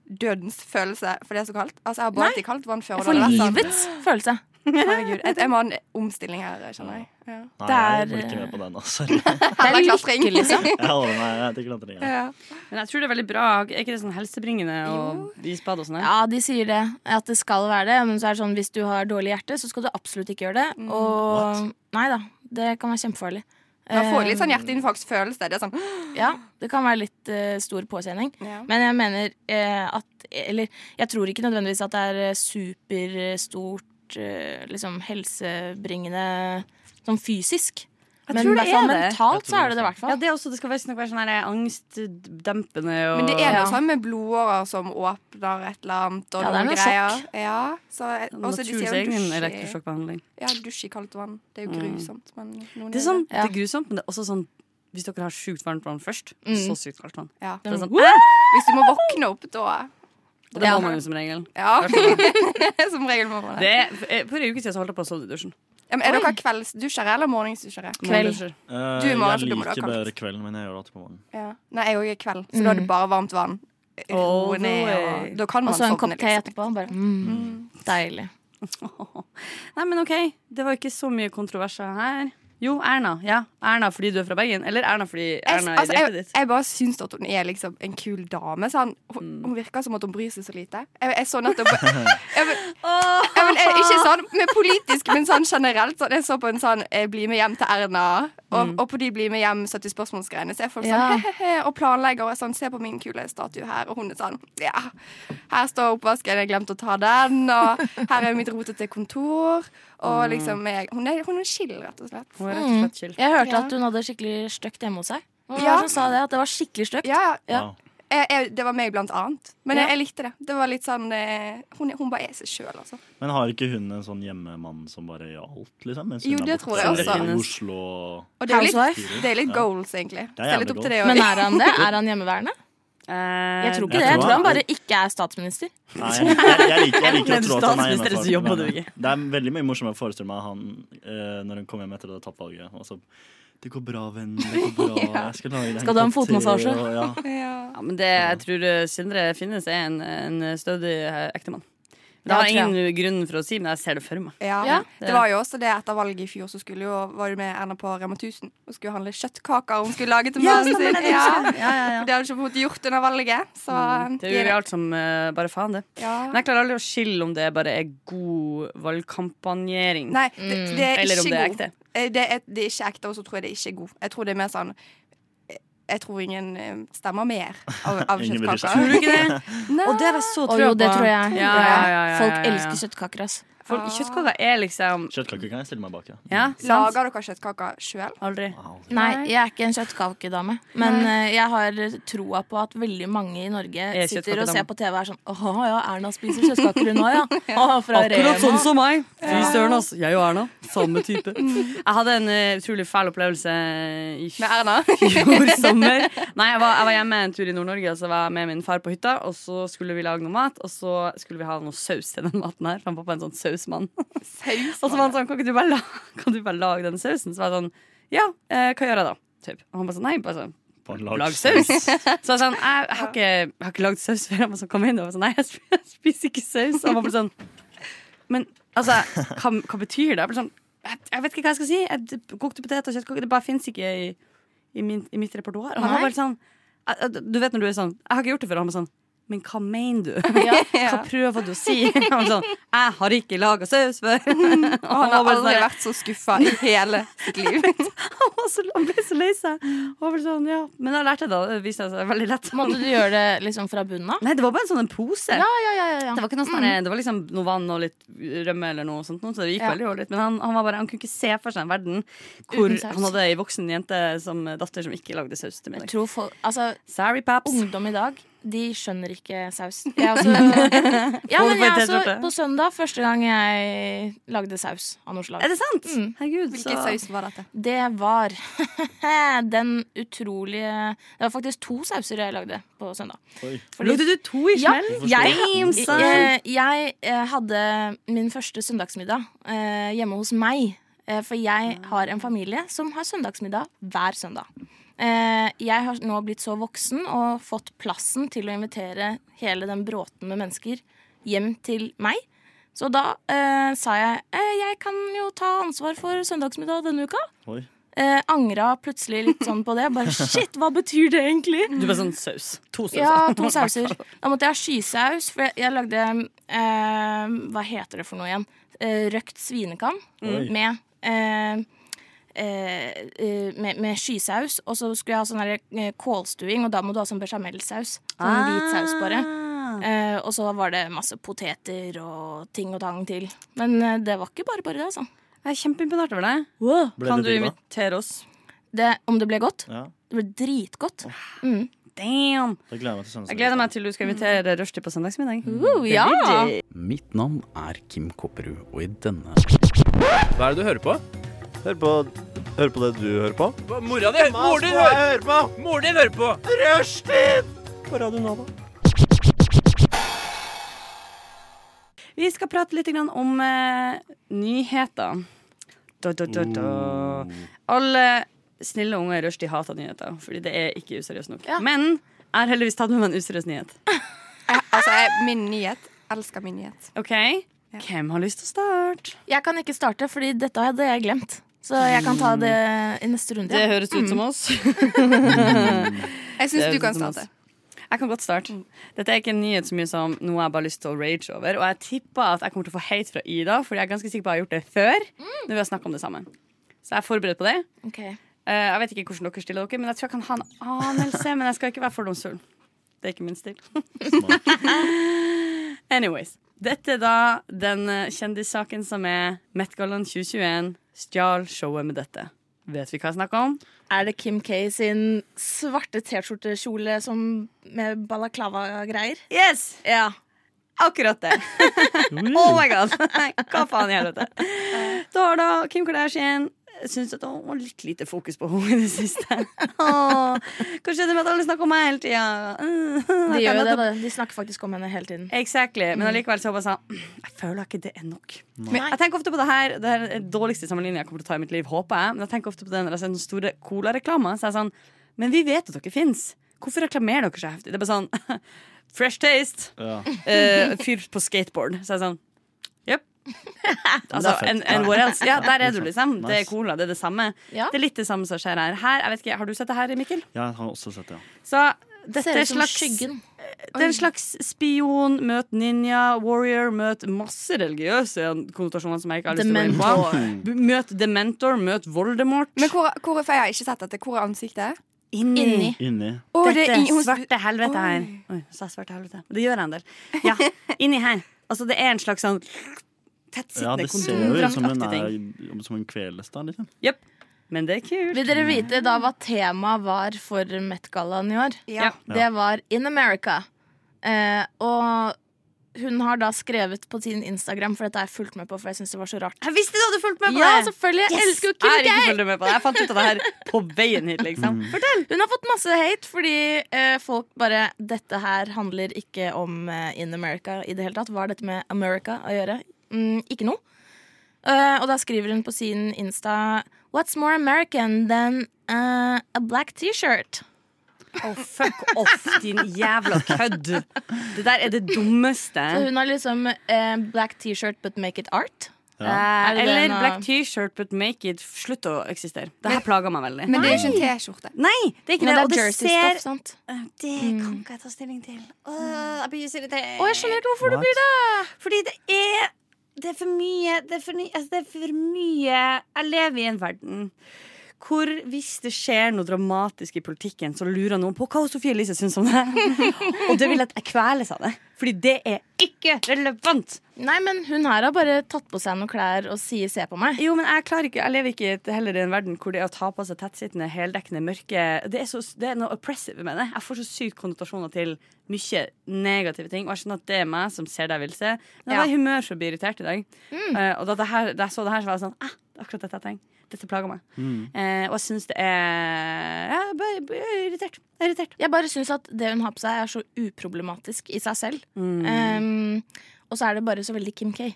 dødens følelse for det er så kaldt? Altså, jeg har badet i kaldt vann før.
jeg
og
får
da er det sånn,
livets følelse.
Herregud, jeg, jeg må ha en omstilling her, skjønner jeg. Ja.
Nei,
det er-
jeg blir ikke med på den, altså.
Det
Eller
er
klatring.
lykke, liksom.
Jeg holder meg jeg tenker at det er-
Ja.
Men jeg tror det er veldig bra. Er ikke det sånn helsebringende og isbad og sånn? her?
Ja, de sier det. At det skal være det. Men så er det sånn, hvis du har dårlig hjerte, så skal du absolutt ikke gjøre
Mm.
det. Og nei da, det kan være kjempefarlig.
Man får litt
Eh,
sånn hjerteinfarktfølelse. Det er sånn
Ja, det kan være litt eh, stor påkjenning.
ja.
Men jeg mener eh, at Eller jeg tror ikke nødvendigvis at det er eh, superstort eh, liksom helsebringende sånn fysisk.
Jeg
men
tror
i
det
hvert fall
er det.
Jeg
mentalt
tror
så er det
det
det i
er
hvert
Ja,
fall.
det er også, det skal visstnok være sånn her angstdempende og
Men det er
Ja.
noe sånn med blodårer som åpner et eller annet, og
Ja, det er
noen
noe
greier. Ja, så jeg- også altså, de
naturens
sier jo
egen
dusj i,
elektrosjokkbehandling.
ja, dusj i kaldt vann. Det er jo grusomt, men noen
Det er,
gjør
sånn,
det.
det er grusomt, men det er også sånn hvis dere har sjukt varmt vann først,
Mm.
så sykt kaldt vann.
Ja.
Det er sånn,
Hvis du må våkne opp da
og det må man jo som regel.
Ja, som regel må man
Det
det.
er, for en uke siden så holdt jeg på å sove i dusjen.
Ja, men er dere kveldsdusjere eller morgensdusjere?
Morgendusjer.
Eh,
Du, Mara, så
Jeg
du må da ha
liker
kaldt.
bedre kvelden, men jeg gjør det alltid på morgenen.
Ja. Nei, jeg òg er kveld, så da er det bare varmt vann.
All
Roe
the
ned,
way.
og da kan man
Mm. Og så en kopp
sovne,
te
liksom.
etterpå. Bare, mm, deilig.
Nei, men OK, det var ikke så mye kontroverser her. Jo, Erna. Ja, Erna fordi du er fra Bergen. Eller Erna fordi
Jeg,
Erna
altså,
er hjertet
jeg,
ditt.
jeg bare syns at hun er liksom en kul dame. Sånn. Hun, hun virker som at hun bryr seg så lite. Jeg, jeg så nettopp jeg, jeg, jeg, men eh, Ikke sånn med politisk, men sånn generelt. Sånn, jeg så på en sånn eh, 'Bli med hjem til Erna', og, og på de 'Bli med hjem 70 spørsmålsgreiene'. Så er folk sånn
Ja.
he-he-he, og planlegger og er sånn 'Se på min kule statue her', og hun er sånn 'Ja, her står oppvasken, jeg glemte å ta den', og 'Her er mitt rotete kontor', og liksom jeg, Hun er, hun er chill, rett og slett.
Hun er rett og slett chill.
Mm. Jeg hørte
Ja.
at hun hadde skikkelig støkt hjemme hos seg. Hva
Ja.
var det som sa det? At det var skikkelig støkt?
Ja, ja.
Ja.
Wow.
Jeg, jeg, det var meg, blant annet. Men
Ja.
jeg, jeg likte det. Det var litt sånn eh, Hun, hun bare er seg sjøl, altså.
Men har ikke hun en sånn hjemmemann som bare gjør alt, liksom? Mens
Jo,
hun er
det
borte
tror jeg
også.
i Oslo
Og det er jo litt,
Housewife?
det er litt
Ja.
goals, egentlig. Det
Det er
er litt
jævlig
opp til det
Men
å
er han det? Er han hjemmeværende?
Eh,
Jeg tror ikke
Jeg
det. Jeg
tror
tror han
han-
bare ikke er statsminister.
Nei, jeg, jeg, jeg liker, jeg liker å
Enten
tro at han er
statsminister, eller så
hjemmefar,
jobber
men
du ikke.
Det er veldig mye morsommere å forestille meg han eh, når hun kommer hjem etter det tapt valget. Og så Det går bra, venn. Det går bra. Jeg skal, lage deg
Skal du ha en
kopp te,
fotmassasje?
og- Ja.
Ja.
Ja, men det jeg tror eh, Sindre finnes, er en, en stødig eh, ektemann. Det
Ja,
har jeg
tror
ingen grunn for å si, men jeg ser det for meg.
Ja.
Ja,
det-
Det var jo også det etter valget i fjor, så skulle jo, var jo med Erna på Rema 1000 og skulle handle kjøttkaker hun skulle lage til mannen sin. Ja. For det hadde hun ikke fått gjort under valget. Så
Mm, Det gjør vi alt som eh, bare faen, det.
Ja.
Men jeg klarer aldri å skille om det bare er god valgkampanjering.
Nei, det, det er
Mm, Eller om
ikke
det er
god.
ekte.
Eh, Det er, det er ikke ekte, og så tror jeg det er ikke god. Jeg tror det er mer sånn eh, Jeg tror ingen eh, stemmer mer av, av
Ingen bryr seg.
kjøttkaker.
Tror du ikke det?
Nei.
Og det var så
Å
trua
jo,
på.
det tror jeg.
Ja, ja, ja, ja, ja, ja.
Folk elsker kjøttkaker, ass.
Folk- Kjøttkaker er liksom
Kjøttkaker kan jeg stille meg bak, ja.
Ja, sant?
Lager dere kjøttkaker sjøl?
Aldri.
Wow.
Nei, jeg er ikke en kjøttkakedame. Men eh, jeg har troa på at veldig mange i Norge
Er
sitter og
kjøttkakedame.
ser på TV og er sånn Å ja, Erna spiser kjøttkaker hun òg, ja. Å, fra
Akkurat sånn
Rema.
som meg. Fy søren, altså. Jeg og Erna. Samme type. Jeg hadde en eh, utrolig fæl opplevelse i
Med Erna?
fjor sommer. Nei, jeg var, jeg var hjemme en tur i Nord-Norge, og så var jeg med min far på hytta. Og så skulle vi lage noe mat, og så skulle vi ha noe saus til den maten her. For han pappa er en sånn sausmann.
Saus?
Og så var han sånn, kan ikke du bare, la kan du bare lage den sausen? Så var jeg sånn, ja, eh, hva gjør jeg da? Typ. Og han bare sånn, nei, bare sånn,
På en
lag
lagsaus.
saus. Så jeg var sånn, jeg, jeg, har ikke, jeg har ikke lagd saus før. Han bare sånn, kom inn og var sånn, nei, jeg sp- jeg spiser ikke saus. Og han bare sånn, men altså, hva, hva betyr det? Jeg ble sånn, jeg, jeg vet ikke hva jeg skal si. Jeg, kokte potet og kjøttkoker, det bare finnes ikke i, i, min, i mitt repertoar. Og han var
Nei.
bare sånn, jeg- jeg- du vet når du er sånn, jeg har ikke gjort det før. Og han bare sånn, men hva mener du? Hva prøver du å si? Han var sånn, jeg har ikke laget saus før.
Og han
Og
har
bare
aldri
sånn,
vært så skuffa i hele sitt liv.
Han var så- han ble så lei seg. Og ble sånn, ja. Men jeg lærte det, da. det viste seg veldig lett.
Måtte du gjøre det liksom fra bunnen av?
Nei, det var bare en sånn en pose.
Ja, ja, ja. ja,
Det
ja.
var ikke noe sånn, det var liksom noe vann og litt rømme eller noe sånt, noe, så det gikk
Ja.
veldig dårlig. Men han, han var bare, han kunne ikke se for seg en verden hvor
Uten saus.
han hadde ei voksen jente som datter som ikke lagde saus til
Jeg
middag.
tror folk, altså,
Sorry, paps.
Ungdom i dag de skjønner ikke saus. Jeg også, ja, men jeg også, på søndag første gang jeg lagde saus av noe slag.
Er det sant?
Mm.
Herregud, så
Hvilken saus var dette?
Det var den utrolige Det var faktisk to sauser jeg lagde på søndag.
Oi.
Fordi-
Lagde du to i
Ja,
smell?
jeg,
Damn,
jeg, jeg eh, hadde min første søndagsmiddag eh, hjemme hos meg. Eh, for jeg har en familie som har søndagsmiddag hver søndag. Eh, jeg har nå blitt så voksen og fått plassen til å invitere hele den bråten med mennesker hjem til meg. Så da eh, sa jeg eh, jeg kan jo ta ansvar for søndagsmiddag denne uka.
Oi.
Eh, angra plutselig litt sånn på det. Bare shit, hva betyr det egentlig?
Du var sånn saus. To sauser.
Ja, to sauser. Da måtte jeg ha skysaus, for jeg, jeg lagde eh, Hva heter det for noe igjen? Eh, røkt svinekam
Oi.
med eh, eh, eh, med, med skysaus, og så skulle jeg ha sånn der, eh, kålstuing, og da må du ha sånn bechamelsaus. Sånn hvit saus, bare.
Ah.
Eh, og så var det masse poteter og ting og tang til. Men eh, det var ikke bare bare det, altså.
Jeg er kjempeimponert over deg.
Ble
Kan du
det digg, da?
invitere oss?
Det, om det ble godt?
Ja.
Det ble dritgodt.
Damn!
Da gleder jeg meg til søndag.
Jeg gleder meg til du skal invitere Rushdie på søndagsmiddag.
Uh, ja.
Mitt navn er Kim Kopperud, og i denne
Hva er det du hører på?
Hør på, hør på det du hører på.
Mora di! Moren din hører,
hører på!
moren din hører på!
Rushtid! På Radio Nova.
Vi skal prate litt grann om eh, nyheter. Da, da, da, da. Alle snille unge i rushtid hater nyheter, fordi det er ikke useriøst nok. Men jeg har heldigvis tatt med meg en useriøs nyhet.
Jeg, altså, jeg, min nyhet. Elsker min nyhet.
Ok? Hvem har lyst til å starte?
Jeg kan ikke starte, fordi dette hadde jeg glemt. Så jeg kan ta det i neste runde.
Mm. høres ut som oss.
Jeg syns du kan starte.
Jeg kan godt starte. Dette er ikke en nyhet så mye som noe jeg bare har lyst til å rage over. Og jeg tipper at jeg kommer til å få hate fra Ida, Fordi jeg er ganske sikker på at jeg har gjort det før. Når vi har snakket om det sammen Så jeg er forberedt på det.
Ok.
Eh, Jeg vet ikke hvordan dere stiller dere, men jeg tror jeg kan ha en anelse. Men jeg skal ikke være fordomsfull. Det er ikke min stil. Anyways. Dette er da den eh, kjendissaken som er Met-gallaen 2021 stjal showet med dette. Vet vi hva jeg snakker om?
Er det Kim K sin svarte T-skjorte-kjole som- med balaklava-greier?
Yes!
Ja.
Akkurat det. oh my god! Hva faen i helvete? Da har da Kim Kardashian syntes at hun var litt lite fokus på henne i det siste. Åh, hva skjedde med at alle snakker om meg hele tida?
Mm, De gjør jo det, da. De snakker faktisk om henne hele tiden.
Exactly. Men allikevel så var jeg sånn Jeg føler ikke det er nok.
Mm. Nei.
Men jeg tenker ofte på det her Det her er den dårligste sammenligningen jeg kommer til å ta i mitt liv, håper jeg. Men jeg tenker ofte på den når jeg ser den store Cola-reklama. Så er jeg sånn Men vi vet at dere fins. Hvorfor reklamerer dere så heftig? Det er bare sånn Fresh taste.
Ja.
Eh, fyr på skateboard. Så er jeg sånn Jepp. Altså,
fett.
and, and what else? Ja, der er du, liksom. Det er
Nice.
cola, det er det samme.
Ja.
Det er litt det samme som skjer her. her jeg vet ikke, har du sett det her, Mikkel?
Jeg har også sett det.
Så
Det
dette
ser
er
ut som
slags
Skyggen.
det er en slags spion møt ninja, warrior møt masse religiøse konnotasjoner som jeg ikke har lyst til å gå inn på. Møt dementor, møt Voldemort.
Men hvor, hvor for jeg har ikke sett dette. Hvor er ansiktet?
inni.
Inni.
Inni.
Å, det er
Dette
ingen- hun-
svarte helvete her. Oi, sa jeg svarte helvete. Det gjør jeg en del. Ja, inni her. Altså, det er en slags sånn
Ja,
tettsittende
det ser jo ut som hun
kondomdraktaktig ting.
er som hun kveles, da. liksom
Jepp. Men det er kult.
Vil dere vite da hva temaet var for Met-gallaen i år?
Ja.
Det var In America. Eh, og hun har da skrevet på sin Instagram, for dette har jeg fulgt med på, for jeg syns det var så rart.
Jeg visste du hadde fulgt med på
Ja,
det!
selvfølgelig! Jeg
Yes!
elsker jo
Jeg har
Kim
ikke
K!
fulgt med på det. Jeg fant ut av det her på veien hit, liksom.
Mm.
Fortell!
Hun har fått masse hate fordi eh, folk bare Dette her handler ikke om eh, In America i det hele tatt. Hva har dette med America å gjøre? Mm, ikke noe. Eh, og da skriver hun på sin Insta What's more American than eh, a black T-shirt?
Å, fuck off, din jævla kødd! Det der er det dummeste.
Så hun har liksom eh, black T-shirt but make it art. Er det
Eller
den, da?
black t-shirt, but make it slutt å eksistere. Det her plager meg veldig.
Men det er jo ikke en T-skjorte. Mm.
Nei, det er ikke
Men
det.
det
Og
er
det ser
jersey-stoff, sant?
Åh, Det kan ikke jeg ta stilling til. Åh, jeg blir så irritert.
Å, jeg skjønner ikke hvorfor
What?
du blir det!
Fordi det er Det er for mye det er for, ny- altså, det er for mye Jeg lever i en verden hvor hvis det skjer noe dramatisk i politikken, så lurer noen på hva Sofie Elise syns om det. Og det vil at jeg kveles av det. Fordi det er ikke relevant.
Nei, men hun her har bare tatt på seg noen klær og sier 'se på meg'.
Jo, men jeg klarer ikke Jeg lever ikke i et- heller i en verden hvor det å ta på seg tettsittende, heldekkende, mørke Det er, så, det er noe oppressive med det. Jeg får så sykt konnotasjoner til mye negative ting. Og jeg skjønner at det er meg som ser det jeg vil se. Men jeg var i humør for å bli irritert i dag.
Mm.
Eh, og da, det her, da jeg så det her, så var jeg sånn ah, det er Akkurat dette jeg trenger. Dette plager meg.
Mm.
Eh, og jeg syns det er ja, Jeg blir- blir irritert. Jeg er irritert.
Jeg bare syns at det hun har på seg, er så uproblematisk i seg selv. Um, og så er det bare så veldig Kim K.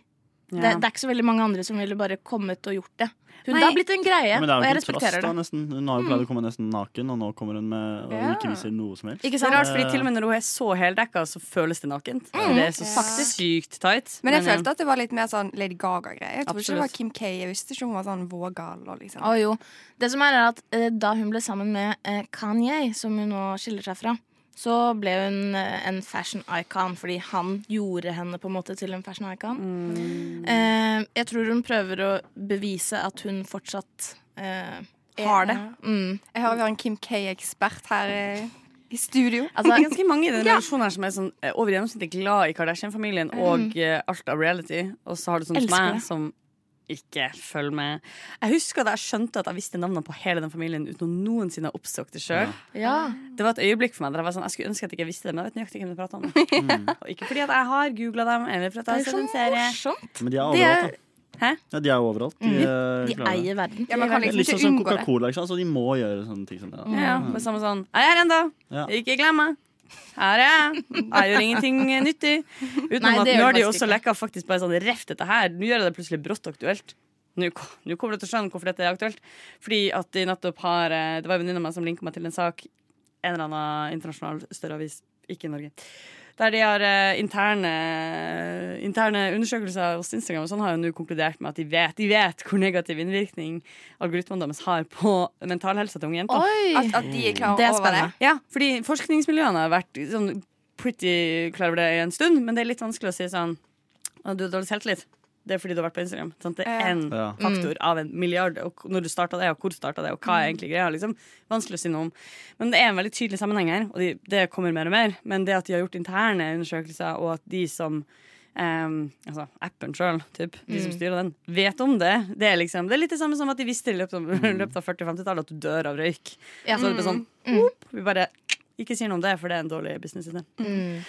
Det,
Ja.
det er ikke så veldig mange andre som ville bare kommet og gjort det. Hun
Nei.
det har blitt en greie,
Ja, men det er
og jeg
jo kontrast,
respekterer
da,
det.
nesten. Hun har jo pleid å komme nesten naken, og nå kommer hun med og ikke viser noe som helst.
Ikke sant? Det er rart, fordi til og med når hun er så heldekka, så føles det nakent.
Mm.
Det er så sykt tight.
Men jeg
ja.
følte at det var litt mer sånn Lady Gaga-greie. Jeg tror ikke det var
Absolutt.
Kim K. Jeg visste ikke hun var sånn vågal. Og liksom.
Å, jo. Det som er, er at eh, da hun ble sammen med eh, Kanye, som hun nå skiller seg fra, så ble hun eh, en fashion icon fordi han gjorde henne på en måte til en fashion icon. Eh, jeg tror hun prøver å bevise at hun fortsatt eh, har det. Mm.
Jeg hører vi har en Kim K-ekspert her eh, i studio.
Altså,
Det er ganske mange i den relasjonen her som er sånn, eh, over gjennomsnittet glad i Kardashian-familien og eh, alt av reality. Og så har du sånn som
Mm. Elsker
meg,
det.
som ikke følger med. Jeg husker da jeg skjønte at jeg visste navnene på hele den familien uten å noensinne ha oppsøkt det sjøl.
Ja.
Det var et øyeblikk for meg der jeg var sånn, jeg skulle ønske at jeg ikke visste det, men jeg vet nøyaktig hvem det prater om.
Mm.
Og ikke fordi at jeg har googla dem, eller fordi at jeg har sett en serie.
Men de er
Altså, Det
overalt,
er-
da.
Hæ?
Ja, de er overalt. De, eh,
De
klarer det.
eier verden.
Ja, man kan
Det er
liksom
Litt
ikke
sånn som
unngå det.
Coca-Cola, ikke sant? så de må gjøre sånne ting som det. da.
Ja, med samme sånn Jeg er her ennå!
Ja.
Ikke glem meg! Her er jeg! Jeg gjør ingenting nyttig. Utenom
Nei,
at
det gjør
nå har
det
de
faktisk
også lekka faktisk bare sånn reft dette her. Nå gjør jeg det plutselig brått aktuelt. Nå ko- nå kommer du til å skjønne hvorfor dette er aktuelt. Fordi at de nettopp har eh, Det var en venninne av meg som linka meg til en sak. En eller annen internasjonal større avis. Ikke i Norge. Der de har eh, interne, interne undersøkelser hos Instagram og sånn har jo nå konkludert med at de vet, de vet hvor negativ innvirkning algoritmene deres har på mentalhelsa til unge jenter.
Oi! At- at de er klar Det er over det. spennende.
Ja, fordi forskningsmiljøene har vært sånn pretty klar over det i en stund, men det er litt vanskelig å si sånn «Å, Du har dårlig selvtillit. Det er fordi du har vært på Instagram. Sant? Det er
Ja.
én
Ja.
faktor av en milliard. Og når du starta det, og hvor starta det, og hva er
Mm.
egentlig greia? Liksom. Vanskelig å si noe om. Men det er en veldig tydelig sammenheng her, og de, det kommer mer og mer. Men det at de har gjort interne undersøkelser, og at de som em, altså appen sjøl, typ, de som
Mm.
styrer den, vet om det. Det er, liksom, det er litt det samme som at de visste i løpet av, løpet
Mm.
av 40-50-tallet at du dør av røyk.
Ja.
Så er det bare sånn
Mm.
opp, Vi bare ikke sier noe om det, for det er en dårlig businessidé.
Mm.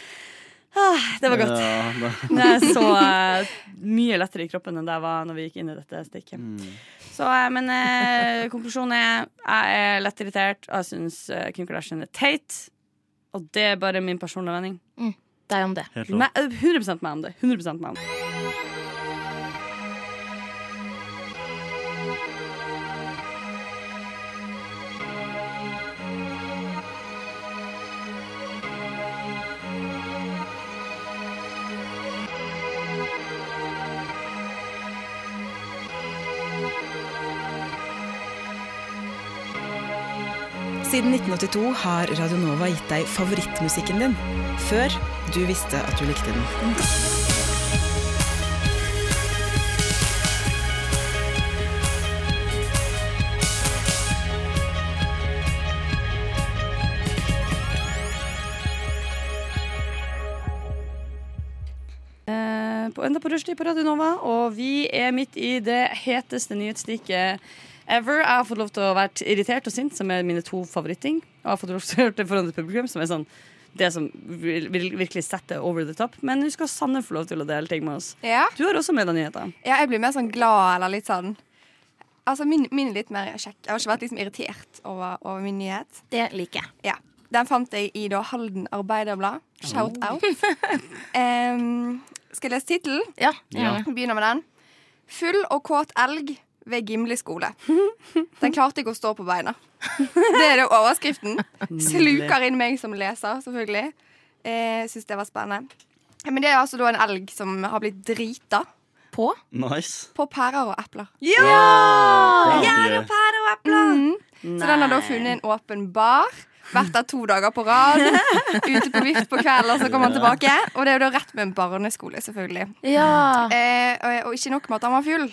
Ah, det var godt.
Ja, det-
Det er så eh, mye lettere i kroppen enn det jeg var når vi gikk inn i dette stikket. Så, eh, men eh, konklusjonen er jeg er lett irritert, og jeg syns eh, Kim Kardashian er teit. Og det er bare min personlige mening.
Deg om det.
Helt lov.
Me- 100 meg om det. 100 meg om det.
Siden 1982 har Radio Nova gitt deg favorittmusikken din, før du visste at du likte den.
Eh, på, enda på rushtid på Radio Nova, og vi er midt i det heteste nyhetsstiket ever. Jeg har fått lov til å være irritert og sint, som er mine to favoritting. Og jeg har fått lov til å gjøre det foran et publikum, som er sånn det som vil, vil virkelig setter over the top. Men nå skal Sanne få lov til å dele ting med oss.
Ja.
Du har også med deg nyheter.
Ja, jeg blir mer sånn glad eller litt sånn Altså min, min er litt mer kjekk. Jeg har ikke vært liksom irritert over, over min nyhet.
Det liker jeg.
Ja. Den fant jeg i da Halden Arbeiderblad. Shout
Oh.
out. Em, skal jeg lese tittelen?
Ja.
Ja.
Begynner med den. Full og kåt elg ved Gimle skole. Den klarte ikke å stå på beina. Det er det overskriften. Sluker inn meg som leser, selvfølgelig. Eh, Syns det var spennende. Men det er altså da en elg som har blitt drita.
På?
Nice.
På pærer og epler.
Ja! Det er alltid
Gjær
gøy.
og pærer og epler! Så den har da
Nei.
funnet en åpen bar. Vært der to dager på rad. Ute på vift på kvelden, og så kommer han tilbake. Og det er jo da rett med en barneskole, selvfølgelig.
Ja.
Eh, og, og ikke nok med at han var full.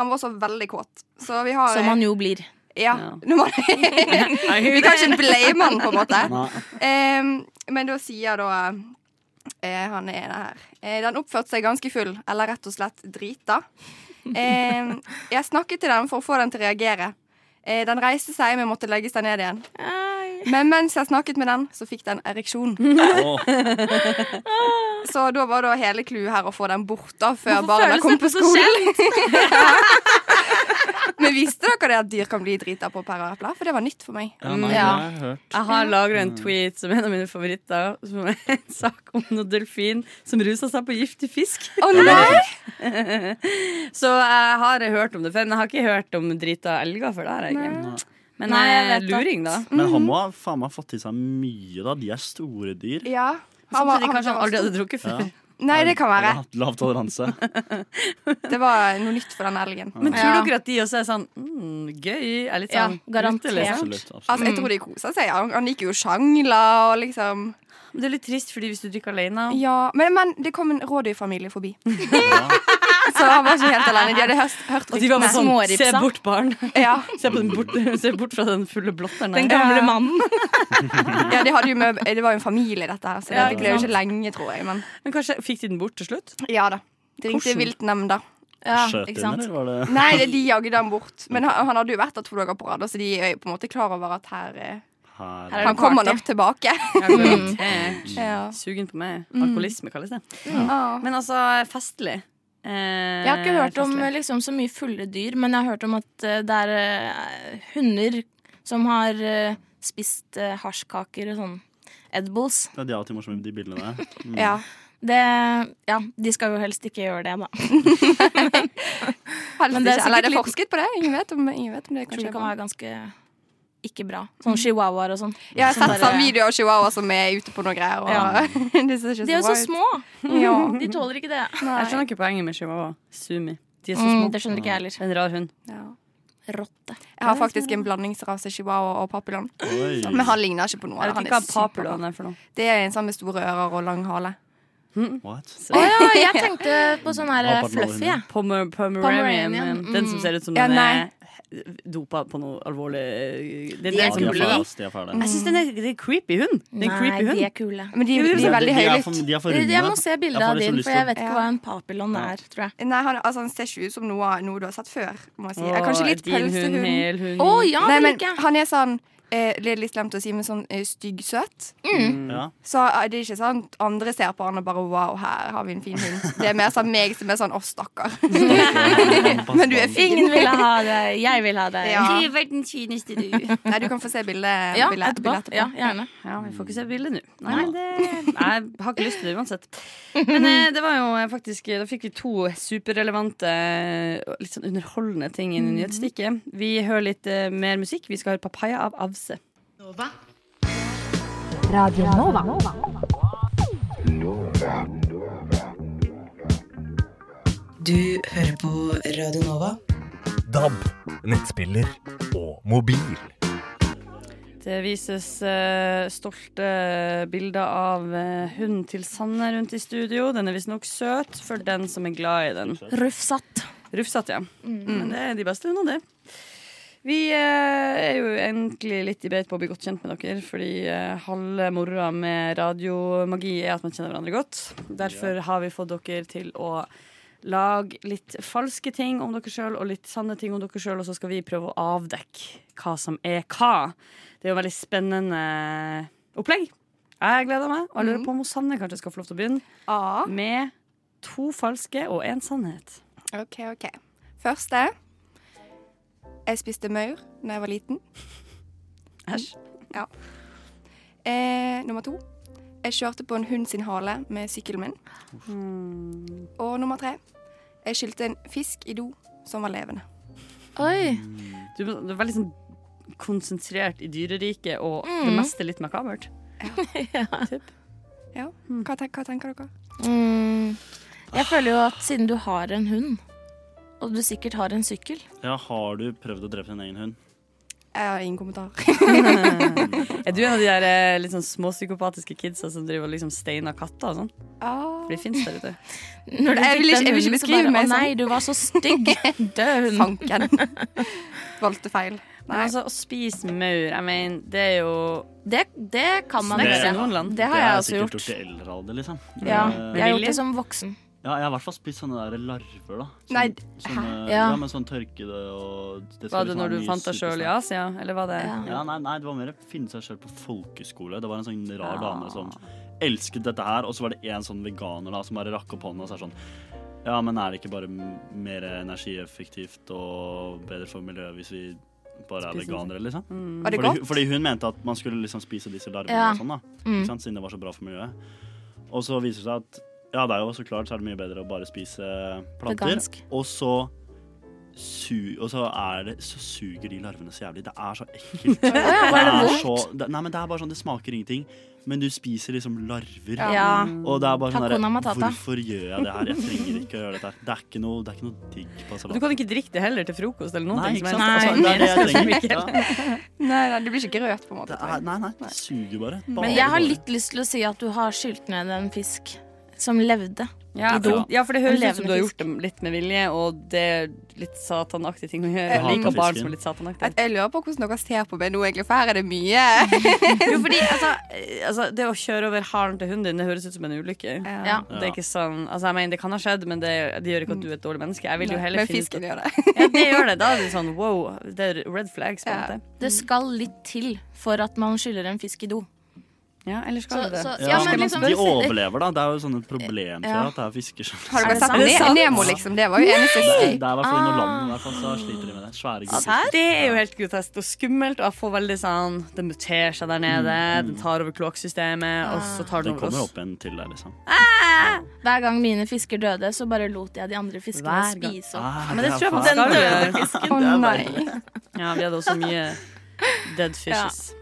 Han var også veldig kåt. Så vi har
Som man jo blir.
Ja. Når man, vi kan ikke blame han, på en måte. Em, men da sier da eh, han ene her eh, Den oppførte seg ganske full, eller rett og slett drita. Em, jeg snakket til den for å få den til å reagere. Eh, den reiste seg, men måtte legge seg ned igjen. Men mens jeg snakket med den, så fikk den ereksjon. Så da var da hele clouet her å få den bort da før
Hvorfor
barna
føles
kom på
dette så
skolen. Ja. Men visste dere det at dyr kan bli drita på pærer og epler? For det var nytt for meg.
Ja, nei, det har jeg hørt. Jeg har lagra en tweet som er en av mine favoritter, som er en sak om noen delfin som rusa seg på giftig fisk. nei! Så jeg har hørt om det før, men jeg har ikke hørt om drita elger før det har jeg ikke. Men
Nei,
eh,
jeg vet at-
luring, da.
Men han må ha faen meg fått i seg mye, da. De er store dyr.
Ja.
Samtidig kanskje han aldri hadde drukket før.
Ja.
Nei, det kan være.
Hatt Lav toleranse.
Det var noe nytt for den elgen.
Men tror dere at de også er sånn mm, gøy? Er litt
Ja,
sånn
garantert.
ute, liksom?
Absolutt, absolutt.
Altså, jeg tror de koser seg. Han, han gikk jo og sjangla og liksom
Det er litt trist, fordi hvis du drikker alene
Ja, men, men det kom en rådyrfamilie forbi. Så han var ikke helt alene. De hadde hørt, hørt
Og de var sånn. bare sånn Se
Småripsa.
bort, barn.
Ja.
se, på den bort, se bort fra den fulle blotteren.
Den
her. Ja.
gamle mannen. Ja, de hadde jo med, det var jo en familie, dette her, så
Ja,
det
ikke
ble jo
sant.
ikke lenge, tror jeg. Men,
kanskje fikk de den bort til slutt?
Ja da. De ringte
Hvordan?
viltnemnda.
Skjøt ikke sant? den, eller var det-
Nei, det- de jagde han bort. Men han, han hadde jo vært der to dager på rad, så de er jo på en måte klar over at her, eh,
Her.
Han kommer nok tilbake.
Ja. Mm. Sugen på meg.
Mm.
Alkoholisme kalles det. Men altså, festlig.
Jeg har
Eh,
ikke hørt om liksom, så mye fulle dyr, men jeg har hørt om at eh, det er eh, hunder som har eh, spist eh, hasjkaker og sånn. Edibles.
Ja, de er alltid morsomme, de bildene der. Mm.
Det, ja, de skal jo helst ikke gjøre det, da.
Helst
Men det
ikke. Eller er
er sikkert
det
litt-
forsket på det? Ingen vet om, ingen vet om det
Jeg tror
kanskje
det kan være ganske ikke bra. Sånn chihuahuaer og sånn.
Ja, jeg
Som
har sett
bare-
sånn videoer av chihuahua som er ute på noe greier. Og
Ja.
det ser ikke
De er jo
bra
så
ut.
små!
Ja.
De tåler ikke det.
Jeg skjønner ikke poenget med chihuahua. Sumi. De er så små.
Mm, det skjønner ikke jeg heller.
En rar hund.
Rotte.
Jeg har faktisk en blandingsrase chihuahua og papillon.
Oi.
Men han ligner ikke på noe.
Jeg vet
Han
ikke hva
superrar.
papillon er for noe.
Det er en sånn med store ører og lang hale.
What?
Å ja, jeg tenkte på sånn her eh, fluffy, jeg.
Pomer Pomeranian.
Pomeranian, mm.
Den som ser ut som
Ja,
den
nei.
er dopa på noe alvorlig eh, Den,
De er
den som
kule.
blir-
De er fæle, de er fæle.
Jeg syns den er, det er creepy hund. Det er en
Nei,
creepy hund.
de er kule.
Men de-
Jo,
de er
men-
veldig De er høylytt. for- de er for runde.
Jeg må se
Jeg
bilde
får
av
litt sånn
din,
lyst
for
til-
jeg vet ikke
Ja.
hva en papillon er, tror jeg.
Nei, han, altså, han ser ikke ut som noe, noe du har sett før. Må jeg si.
Åh,
Eh, Kanskje litt
din hund,
pølsehund.
hel hund. Åh, ja,
Nei,
det
men
liker jeg.
Han er sånn eh, det er litt slemt å si, men sånn eh, styggsøt.
Mm. Ja.
Så eh, det er ikke sånn at andre ser på han og bare wow, her har vi en fin hund. Det er mer sånn meg som er sånn å, stakkar. men du er fin.
Ingen ville ha det. Jeg vil ha det.
Ja.
Du er verdens fineste, du.
Nei, du kan få se bildet
Ja,
bildet-
etterpå.
bildet
Ja, gjerne. Ja, vi får ikke se bildet nå. Nei, men det, nei, jeg har ikke lyst til det uansett. Men eh, det var jo eh, faktisk Da fikk vi to superrelevante, eh, litt sånn underholdende ting inn i nyhetsstikket. Vi hører litt eh, mer musikk. Vi skal høre 'Papaya' av Avse.
Radio Nova.
Du hører på Radio Nova.
DAB, nettspiller og mobil.
Det vises eh, stolte bilder av eh, hunden til Sanne rundt i studio. Den er visstnok søt for den som er glad i den.
Rufsatt.
Rufsatt, ja.
Mm.
Men det er de beste hundene, det. Vi eh, er jo egentlig litt i beit på å bli godt kjent med dere, fordi eh, halve moroa med radiomagi er at man kjenner hverandre godt. Derfor har vi fått dere til å lage litt falske ting om dere sjøl og litt sanne ting om dere sjøl, og så skal vi prøve å avdekke hva som er hva. Det er jo veldig spennende opplegg. Jeg gleder meg, og jeg lurer på om hun Sanne kanskje skal få lov til å begynne. Med to falske og én sannhet.
Ok, ok. Første. Jeg spiste maur da jeg var liten.
Æsj.
Ja. Eh, nummer to. Jeg kjørte på en hund sin hale med sykkelen min. Og nummer tre. Jeg skyldte en fisk i do som var levende.
Oi.
Du, må- du er veldig sånn konsentrert i dyreriket, og det
Mm.
meste litt makabert.
Ja. Hva, ten hva tenker dere?
Mm. Jeg føler jo at siden du har en hund, og du sikkert har en sykkel
Ja, har du prøvd å drepe din egen hund?
Jeg har ingen kommentar.
er du en av de der eh, litt sånn småpsykopatiske kidsa som driver og liksom steiner katter og sånn?
Ah.
For de fins der ute.
Når du
Jeg vil ikke- jeg
fikk den
vil ikke
hunden, så
beskrive
bare,
meg
Å nei,
sånn.»
du var så stygg. Død hund.
Fanken. Valgte feil.
Men altså, å spise maur, jeg mener, det er jo
Det, kan man
Snakkes
gjøre.
i noen land.
Det har jeg også
sikkert
gjort.
i eldre alder, liksom.
Ja,
Mm.
Eh,
jeg har gjort det som voksen.
Ja, jeg har i hvert fall spist sånne der larver, da. Sånn,
Nei,
sånne,
hæ?
ja.
Ja.
men sånn tørkede og det skal
Var det
liksom
når
være
du
mye
fant deg sjøl i
supersnack.
Asia, eller var det
Ja, nei, nei, det var mer å finne seg sjøl på folkeskole. Det var en sånn rar
Ja.
dame som elsket dette her, og så var det en sånn veganer da som bare rakk opp hånda og sa sånn Ja, men er det ikke bare m- mer energieffektivt og bedre for miljøet hvis vi bare er
Spiser
veganere,
det.
liksom?
Mm. Var det
fordi,
godt?
hu- fordi hun mente at man skulle liksom spise disse larvene
Ja.
og sånn, da.
Mm.
Ikke sant? Siden det var så bra for miljøet. Og så viser det seg at ja, det er jo så klart så er det mye bedre å bare spise planter.
Vegansk.
Og så su og så, er det, så suger de larvene så jævlig. Det er så ekkelt.
Å ja, var det
er
vondt?
så, det, nei, men det er bare sånn, det smaker ingenting. Men du spiser liksom larver.
Ja.
Mm.
Og det er bare sånn
Hakuna
der,
matata.
Hvorfor gjør jeg det her? Jeg trenger ikke å gjøre dette her. Det er ikke noe, det er ikke noe digg på
Du
salat.
kan ikke drikke det heller til frokost eller noen
Nei,
ting.
ikke
som
sant?
helst.
Altså, det er det jeg
Sånn,
tenker.
Mikael.
Nei, nei, det blir ikke grøt, på en måte.
Nei, nei, det suger bare.
Men jeg har litt lyst til å si at du har skylt ned en fisk som levde
Ja,
i do.
for- ja, for det høres
En
ut som du har
levende
gjort det litt med vilje, og det er litt satanaktig ting å gjøre.
Jeg
Jeg liker
hater
barn
fisken.
som er litt satanaktige.
Jeg lurer på hvordan dere ser på meg nå, egentlig, for her er det mye.
Jo, fordi altså, eh, altså, Det å kjøre over halen til hunden din Det høres ut som en ulykke.
Ja.
Det er ikke sånn, altså, jeg mener, det kan ha skjedd, men det, det gjør ikke at du er et dårlig menneske. Jeg vil jo
Nei,
heller
men
finne ut
fisken
at-
gjør
Ja, det gjør det. Da er det sånn wow. Det er red flags. på en måte.
fisk. Det skal litt til for at man skyller en fisk i do.
Ja, eller skal
Så-
det det?
så-
Ja,
men liksom-
de overlever, da. Det er jo sånn et problem for
Ja.
at det er fisker som
Har dere sett Ne- Nemo, liksom? Det var jo eneste
Det er i
skrik.
hvert fall i noen land i hvert fall, så sliter de med det. Svære
Ja, Det er jo helt grotesk og skummelt. Og jeg får veldig sånn Det muterer seg der nede. Den tar over kloakksystemet, og
Ah.
så tar den
Den
over
kommer
oss.
opp igjen til deg, liksom.
Hver gang mine fisker døde, så bare lot jeg de andre fiskene
Hver gang.
Ah,
spise opp.
Ja, men det tror jeg man
den
skal
døde
gjøre.
fisken.
Å,
det
nei.
er bare-
Ja, vi hadde også mye Dead fishes.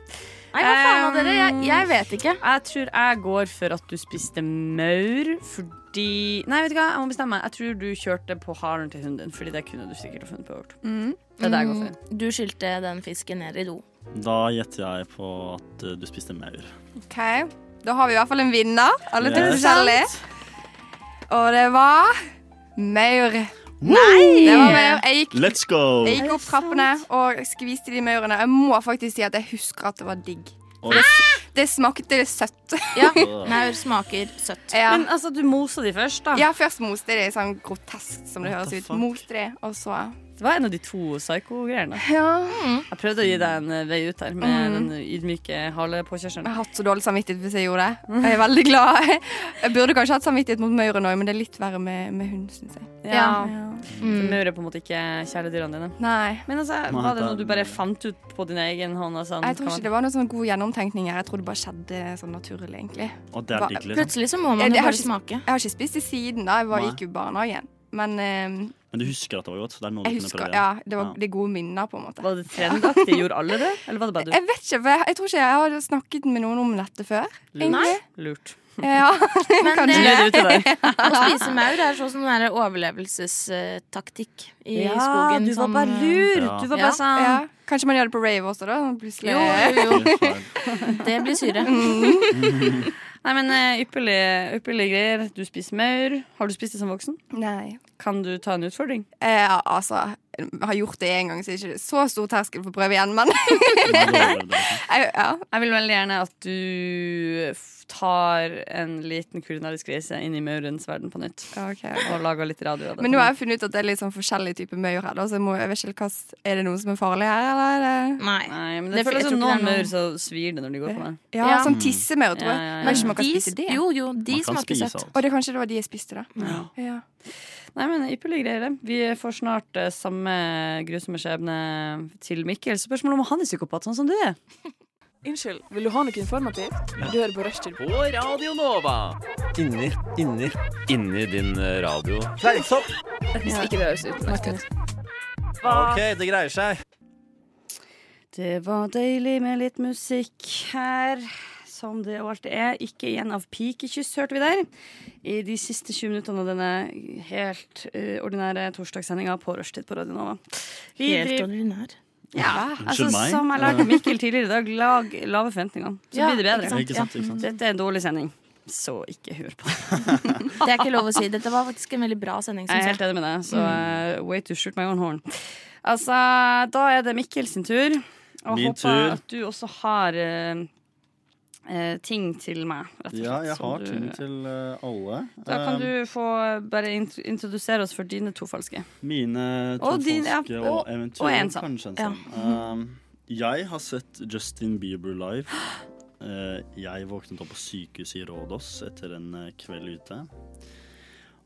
Nei, hva faen av dere? Jeg- jeg
vet ikke. Jeg tror jeg går for at du spiste maur fordi Nei, vet du hva, jeg må bestemme meg. Jeg tror du kjørte på haren til hunden din, fordi det kunne du sikkert ha funnet på å gjøre.
Mm.
Det er det jeg går for.
Du skylte den fisken ned i do.
Da gjetter jeg på at eh, du spiste maur.
OK. Da har vi i hvert fall en vinner. Alle tok
Yes.
forskjellig. Og det var maur. Det var maur. Jeg gikk,
Let's go!
jeg gikk opp trappene og skviste de maurene. Jeg må faktisk si at jeg husker at det var digg.
Og
Det, det smakte søtt.
Ja, maur smaker søtt.
Men altså, du mosa de først, da.
Ja, først moste jeg de sånn grotesk som det høres ut. Moste de, og så
Det var en av de to psyko-greiene.
Ja.
Jeg prøvde å gi deg en eh, vei ut her med
Mm.
den ydmyke halepåkjørselen.
Jeg har hatt så dårlig samvittighet hvis jeg gjorde det. Jeg er veldig glad. Jeg burde kanskje hatt samvittighet mot mauren òg, men det er litt verre med, med hund, syns jeg.
Ja. Så Maur er på en måte ikke kjæledyrene dine.
Nei.
Men altså,
Nei,
Var det noe
den-
du bare fant ut på din egen hånd? og Sånn,
Jeg tror ikke det var noe sånn god gjennomtenkning her. Jeg tror det bare skjedde sånn naturlig, egentlig.
Og det er
Ba-
digg, liksom. Plutselig
så må man
Jeg-
jo
jeg har
bare
ikke-
smake.
Jeg har ikke spist i siden, da. Jeg var,
Nei.
gikk jo i barnehagen. Men eh,
Men du husker at det var godt? så Det er noe du
jeg
kunne prøve
husker
igjen.
Ja, det var det er gode minner, på en måte.
Var det trendaktig? Gjorde alle det? Eller var det bare
Jeg
du?
vet ikke, for jeg, jeg tror ikke jeg har snakket med noen om dette før. Egentlig.
Lurt. Lurt.
Ja,
Men det,
kanskje
å spise maur er sånn sånn der overlevelsestaktikk i
Ja,
skogen.
du var
som,
bare
eh,
lur. Du var bare sånn- Ja. Kanskje man gjør det på rave også, da? Plutselig.
Jo, jo, jo. Det blir syre.
Nei, men eh, ypperlige, ypperlige greier. Du spiser maur. Har du spist det som voksen?
Nei.
Kan du ta en utfordring?
Eh, altså, jeg har gjort det én gang, så det er ikke så stor terskel for å prøve igjen, men
liksom.
jeg, ja.
Jeg vil veldig gjerne at du f- tar en liten kulinarisk reise inn i maurens verden på nytt. Og lager litt radio av det.
Men nå har jeg funnet ut at det er litt sånn forskjellig type maur her. Da, så jeg må, jeg vet ikke hva, s- er det noe som er farlig her, eller? er det-
Nei.
men det,
Det-
føles
jeg
som
tror
noen
ikke det er noe-
maur så svir det når de går på meg.
Ja, sånn tissemaur, tror jeg.
Ja, ja, ja.
Kanskje man kan spise det?
Jo, jo, de
Man kan smaker spise søtt. alt.
Og det kanskje det var de jeg spiste, da. Ja.
Nei, men Ypperlige greier. det. Vi får snart eh, samme grusomme skjebne til Mikkel. Spørsmålet om han er psykopat, sånn som du er.
Unnskyld, vil du ha noe informativt? Du hører på Rushtid.
På Radio Nova. Inni, inni, inni din eh, radio.
Fleisopp! Hvis ikke det høres ut. Martin.
OK, det greier seg.
Det var deilig med litt musikk her, som det jo alltid er. Ikke igjen av pikekyss, hørte vi der. I de siste 20 minuttene av denne helt eh, ordinære torsdagssendinga på rushtid på Radio Nova. Vi
Helt
driver-
ordinær.
Ja,
Unnskyld
altså
meg.
Som jeg lærte Mikkel tidligere i dag, lag lave forventninger. Så
Ja,
blir det bedre.
ikke sant, Ikke sant, ja. ikke sant.
Dette er en dårlig sending, så ikke hør på.
Det er ikke lov å si. Dette var faktisk en veldig bra
Jeg
sending.
er
synes jeg.
helt enig med deg, så
Mm.
uh, way to shoot my own horn. Altså, da er det Mikkel sin tur. Og
Min
håper
tur.
at du også har eh, eh, ting til meg, rett og slett.
Ja, jeg
som
har
du-
ting til eh, alle.
Da
Eh,
kan du få bare int introdusere oss for dine to falske.
Mine to
Og din, ja,
falske
og- og
og eventuelt
en sann.
kanskje en
Ja. Mhm.
sann. Um, jeg har sett Justin Bieber live. Eh, jeg våknet opp på sykehuset i Rådås etter en eh, kveld ute.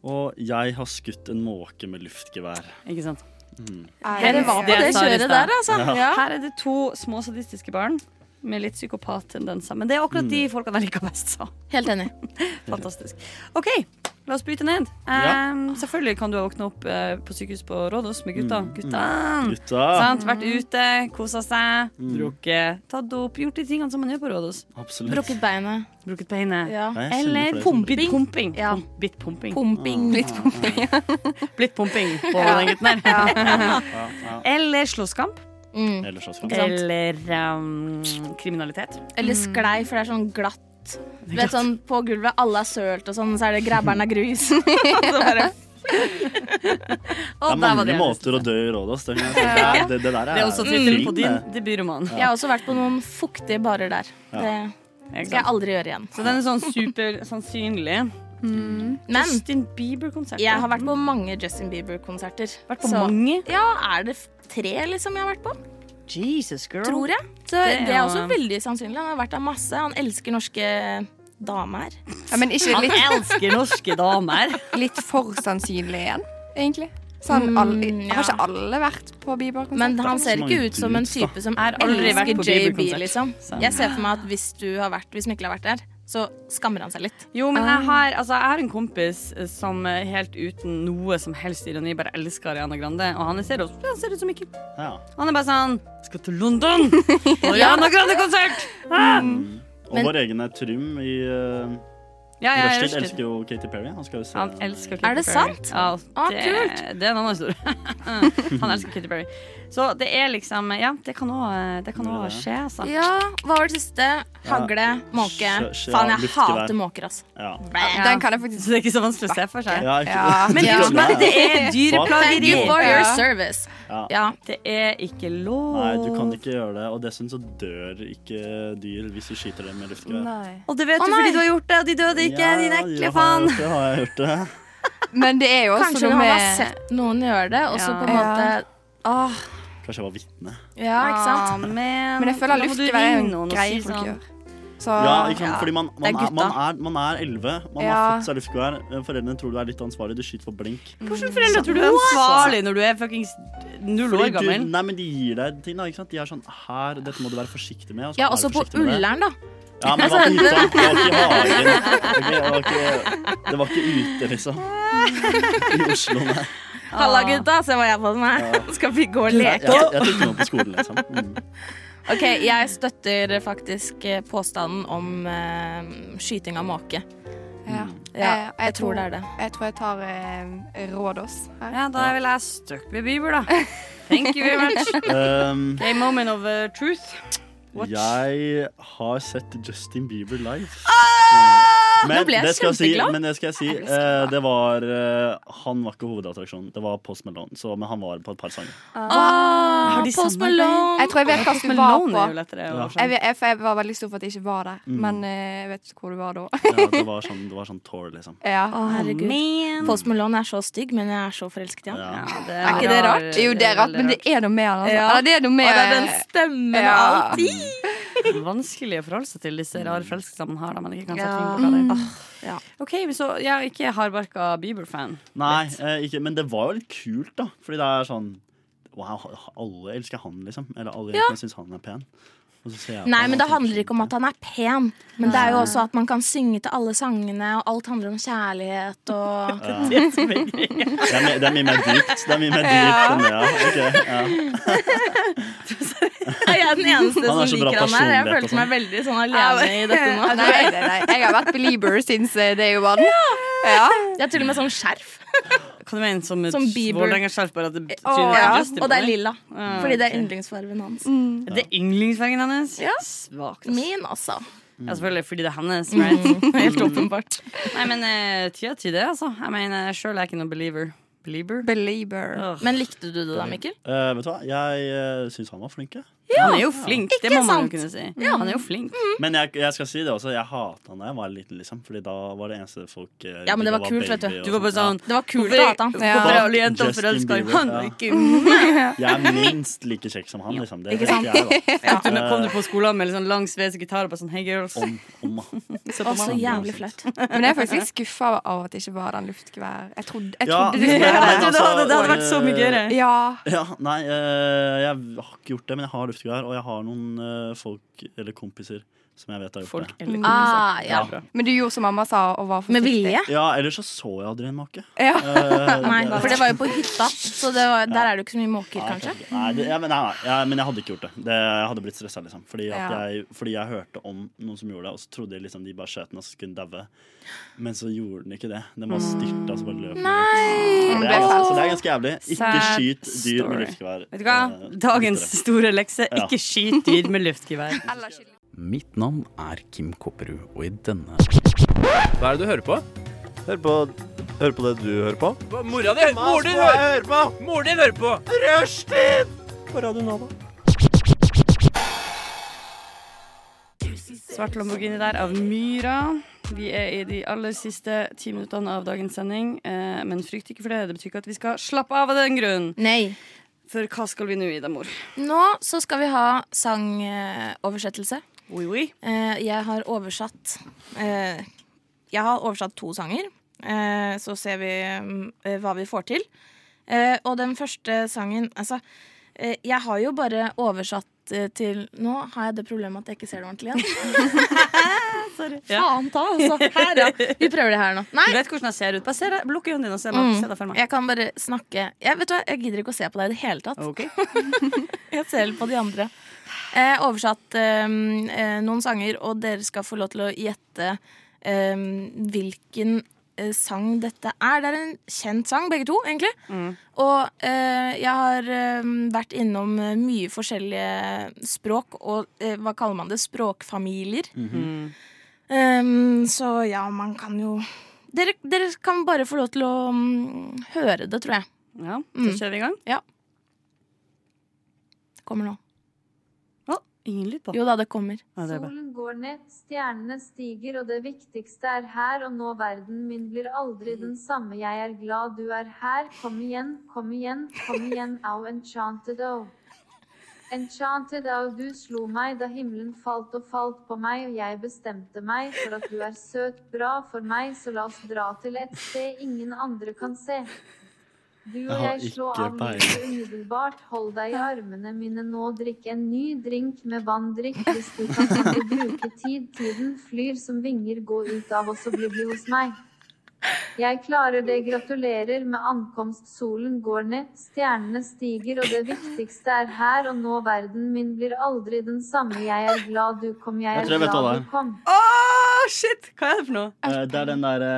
Og jeg har skutt en måke med luftgevær.
Ikke sant?
Mm.
Her er-
var på det
jeg sa i
kjøret
stad.
der, altså. Ja. Ja.
Her er det to små sadistiske barn med litt psykopattendenser. Men det er akkurat
Mm.
de folka der liker best, så.
Helt enig.
Fantastisk. OK, la oss bryte ned.
Ja.
Ehm, selvfølgelig kan du ha våkna opp eh, på sykehus på Rådås med
Mm,
gutta. Gutta!
Gutta!
Mhm. Sant? Vært ute, kosa seg,
Mm.
drukket, tatt dop, gjort de tingene som man gjør på Rådås.
Absolutt.
Brukket beinet.
Brukket beinet.
Ja.
Nei, jeg kjenner Eller flere som pumping. pumping. Ja. Bitt pumping.
Pumping.
Blitt pumping. Blitt pumping på
Ja.
den gutten her.
Ja.
Ja, ja.
Eller slåsskamp.
Mm.
Eller slåsskamp.
Ikke sant?
Eller ehm, kriminalitet.
Eller sklei, for det er sånn glatt. Du vet sånn på gulvet, alle er sølt og sånn, så er det grabberen av grus. Så bare-
Det er
Og der var
mange
det.
måter å dø i Rådås. Det, kan jeg si. det, er- det, det der er
Det er også tittelen på
film,
din
det.
debutroman.
Jeg har også vært på noen fuktige barer der.
Ja.
Det skal jeg aldri gjøre igjen.
Så den er sånn supersannsynlig.
Men
Justin Bieber-konsert.
jeg har vært på mange Justin Bieber-konserter.
Vært på mange?
Ja, er det f- tre liksom jeg har vært på?
Jesus, girl.
Tror jeg. Så det
Det
er,
er jo-
også veldig sannsynlig. Han har vært der masse. Han elsker norske damer.
Han elsker norske damer.
Litt for sannsynlig igjen, egentlig. Sånn,
Mm,
alle,
ja.
Har ikke alle vært på Bieber-konsert?
Men han ser ikke ut som en type som
aldri vært på
elsker JB,
Bieber-konsert. Sånn.
liksom.
Så-
Jeg ser for meg at hvis du har vært Hvis Mikkel har vært der, så skammer han seg litt.
Jo, men jeg har, altså, jeg har en kompis som eh, helt uten noe som helst ironi bare elsker Ariana Grande, og han ser, også, han ser ut som Mikkel. Han er bare sånn Skal til London! Ariana Grande-konsert! Ah!
Og vår egen er Trym i uh,
Ja, ja, i Rushdie.
Rushdie. Elsker jo Katy Perry. Han skal jo se
Han elsker Katy
Er det
Perry.
sant?
Ja,
Ah,
det,
kult.
det er en annen historie. Han elsker Katy Perry. Så det er liksom Ja, det kan òg skje, altså.
Ja, hva var det siste? Hagle, måke.
Skje- skje-
Faen, jeg
luftgevær.
hater måker, altså.
Ja.
Ja, den kan jeg faktisk Så det er ikke så vanskelig å se for seg?
Ja, ikke-
Men
Ja.
husk bare, det er
Thank
dyreplageri.
you for your service.
Ja.
Ja.
Det er ikke lov.
Nei, du kan ikke gjøre det. Og dessuten så dør ikke dyr hvis du skyter dem med luftgevær.
Og det vet du
Å,
fordi
nei.
du har gjort det, og de døde ikke, din
Ja,
ekle
har
faen.
jeg gjort det, har jeg gjort det.
Men det er jo også
Kanskje
noe
han
med
har sett noen gjøre det, og så
Ja.
på en måte
Ja.
Åh,
Kanskje jeg var vitne.
ja, ikke sant?
Ah, men,
Men jeg føler
da må du
luftgevær er
ringe
en
noen og
greie
si
folk
sånn.
gjør. Så
Ja, ikke
Ah,
sant?
Ja.
Fordi man,
Det
man,
er
er,
gutta.
man, er, man er 11, man har
Ja.
fått seg luftgevær. Eh, Foreldrene tror du er litt ansvarlig, du skyter for blink.
Hvordan foreldre tror du er Sånn. ansvarlig når du er fuckings null
Fordi
år gammel?
Du, nei, men de gir deg ting, da. Ikke sant? De er sånn her, dette må du være forsiktig med. og så
Ja,
er du
også på
forsiktig med det.
Ullern, da.
Ja, men det var på hytta, det var ikke i hagen. Det var ikke, det var ikke, det var ikke ute, liksom. I Oslo, nei.
Ah.
Halla, gutta, se hva jeg har på meg. Skal vi gå og
Jeg,
leke?
jeg, jeg tok noe på skolen, liksom. Mm.
Ok, jeg støtter faktisk eh, påstanden om eh, skyting av måke.
Ja.
Mm.
Eh,
Ja, jeg tror det er det.
Jeg tror jeg tar eh, Rådås her.
Ja, da vil jeg stuck med Bieber, da. Thank you very much.
Um,
A moment of uh, truth. What?
Jeg har sett Justin Bieber live.
Ah,
Nå ble jeg
det skal jeg si,
kjempeglad.
men det skal jeg si
Jeg ble
eh, det var, eh, Han var ikke hovedattraksjonen. Det var Post Malone, så, men han var på et par sanger.
Ah,
de
Post
samarbeid?
Malone.
Jeg tror jeg vet hva
Post
du var
Malone er jo
på.
lettere å
Ja.
skjønne.
Jeg, vet, jeg, for jeg var veldig stor for at jeg ikke var der,
Mm.
men eh, jeg vet ikke hvor du var da.
Ja, det var sånn, det var sånn tour, liksom.
Ja.
Å, herregud. Post Malone er så stygg, men jeg er så forelsket i han.
det
Er ikke det rart? Jo, det er rart, men det er noe med han. Altså. Eller det er noe med
Og det er den stemmen
Ja.
alltid. Vanskelig å forholde seg til disse rare følelsene man har da man ikke kan sette
Mm.
fingeren på hva det er. OK, men så jeg er ikke hardbarka Bieber-fan.
Nei, eh, ikke, men det var jo litt kult, da. Fordi det er sånn Wow, alle elsker han, liksom. Eller alle
Ja.
jentene syns han er pen. Og så ser jeg på
Nei,
han, sånn-
men
og
det
så-
handler ikke om at han er pen. Men det er jo også at man kan synge til alle sangene, og alt handler om kjærlighet og
Ja. Det Det er, mye- det er mye mer dypt. Det er mye mer dypt enn det, ja. Ok, ja.
Jeg er den eneste
Han
som
er så bra
liker han her.
personlighet
Jeg
og
følte meg
sånn.
veldig sånn alene i dette nå.
Nei, nei, nei. Jeg har vært belieber since eh, day one. Ja.
Jeg har til og med sånn skjerf.
Kan du mene som et
Som Bieber.
Vålerenga-skjerf, bare at det
Åh,
tyner
ja.
Justin på
Og det Mm. er
deg?
lilla.
Ah,
Fordi det er
ok.
yndlingsfargen hans.
Det er yndlingsfargen hennes?
Ja.
Svakt. ass.
Min altså. også.
Ja, selvfølgelig, fordi det er hennes.
Mm.
Right?
Helt åpenbart.
Nei, men eh, tja til det, altså. Jeg mener, sjøl er jeg ikke noen believer. Belieber? Åh.
Men likte du det da, Mikkel?
Eh, vet du hva, jeg uh, syns han var flink, jeg.
Han er jo flink, det
Ikke
må man
sant?
jo kunne si.
Ja. Mm.
Han er jo flink.
Men jeg, jeg skal si det også, jeg hata han da jeg var liten, liksom. Fordi da var det eneste folk eh,
Ja, men det
digga
var kult, vet du.
baby og
Du var bare sånn
sånt, ja.
Det var kult
hvorfor-
å hate han.
Hvorfor
Ja.
er alle jentene
Justin
forelska i
Bieber,
han?
ja.
og Ikke
sånn-
meg!
Jeg er minst like kjekk som han, liksom. Det
Ikke sant?
tenkte jeg, da.
Du, nå kom du på skolen med litt sånn lang, sves gitar og bare sånn Hey, girls.
Om, om,
Se på
Og så
meg.
jævlig flaut.
Men jeg er faktisk litt skuffa av at det ikke var den luftgevær. Jeg trodde, jeg
Ja,
trodde du
men-
skulle gjøre
men
det.
altså,
det hadde vært så mye
eh,
gøyere.
Ja.
Ja, nei, eh, jeg har ikke gjort det, men jeg har luftgevær. Og jeg har noen eh, folk eller kompiser som jeg vet har gjort
Folk
det.
eller
Ah,
Ja.
ja.
Men du gjorde som mamma sa, og var forsiktig.
Med vilje?
Ja, ellers så så jeg aldri en måke.
Ja.
Eh,
Nei,
det-
for det var jo på hytta, så det var, der er det jo ikke så mye måker, kanskje.
Nei, det, ja, men, nei, nei, ja, men jeg hadde ikke gjort det. det jeg hadde blitt stressa. Liksom. Fordi, at
Ja.
jeg- fordi jeg hørte om noen som gjorde det, og så trodde jeg liksom de bare skjøt den og så skulle den daue. Men så gjorde den ikke det. Den bare styrta og så bare løp. den. Ja, Det er, så det er ganske jævlig. Ikke
Sad
skyt dyr med
story.
luftgevær. eh,
Vet du hva? Dagens store lekse.
Ja.
Ikke skyt dyr med luftgevær.
Mitt navn er Kim Kopperud, og i denne
Hva er det du hører på?
Hør på, det du hører på.
Mora di! Mor din hører på! Mor din hører på! Rushtid!
På Radio Nova.
Svart Lamborghini der av Myra. Vi er i de aller siste ti minuttene av dagens sending. Eh, men frykt ikke for det. Det betyr ikke at vi skal slappe av av den grunn.
Nei.
For hva skal vi nå, Ida Mor?
Nå så skal vi ha sangoversettelse.
Oui, oui.
Eh, jeg har oversatt eh, Jeg har oversatt to sanger. Eh, så ser vi mm, eh, hva vi får til. Eh, og den første sangen Altså, eh, Jeg har jo bare oversatt eh, til Nå har jeg det problemet at jeg ikke ser det ordentlig igjen. Sorry. Faen ta, altså. Her, ja. Vi prøver det her nå. Nei.
Du vet hvordan jeg ser ut. Bare se deg- Lukk øynene dine og se meg.
Mm.
Se deg for meg.
Jeg kan bare snakke jeg, Vet du hva, jeg gidder ikke å se på deg i det hele tatt. jeg ser på de andre. Jeg har oversatt ehm, eh, noen sanger, og dere skal få lov til å gjette ehm, hvilken eh, sang dette er. Det er en kjent sang, begge to, egentlig.
Mm.
Og eh, jeg har ehm, vært innom eh, mye forskjellige språk, og eh, hva kaller man det? Språkfamilier.
Mm. Mhm.
Ehm, så ja, man kan jo dere, dere kan bare få lov til å mm, høre det, tror jeg.
Ja,
Mm.
Så kjører vi i gang.
Ja. Det kommer nå.
Å, ingen lyd på.
Jo da, det kommer.
Ja, det er bra.
Solen går ned, stjernene stiger, og det viktigste er her og nå. Verden min blir aldri den samme. Jeg er glad du er her. Kom igjen, kom igjen, kom igjen. Au, enchanted au. Enchanted au, du slo meg da himmelen falt og falt på meg, og jeg bestemte meg for at du er søt, bra for meg, så la oss dra til et sted ingen andre kan se. Du
Jeg
og
har
jeg slå
ikke
av lyset
peiling.
umiddelbart. Hold deg i armene mine nå. Drikk en ny drink med vann. Drikk hvis du kan ikke bruke tid. Tiden flyr som vinger. Gå ut av oss og bli bli hos meg. Jeg klarer det. Gratulerer med ankomst. Solen går ned, stjernene stiger, og det viktigste er her og nå. Verden min blir aldri den samme. Jeg er glad du kom,
Jeg
jeg er
tror jeg vet hva
glad
det
du kom.
Åh, shit! Hva er det for noe?
Eh, det er den derre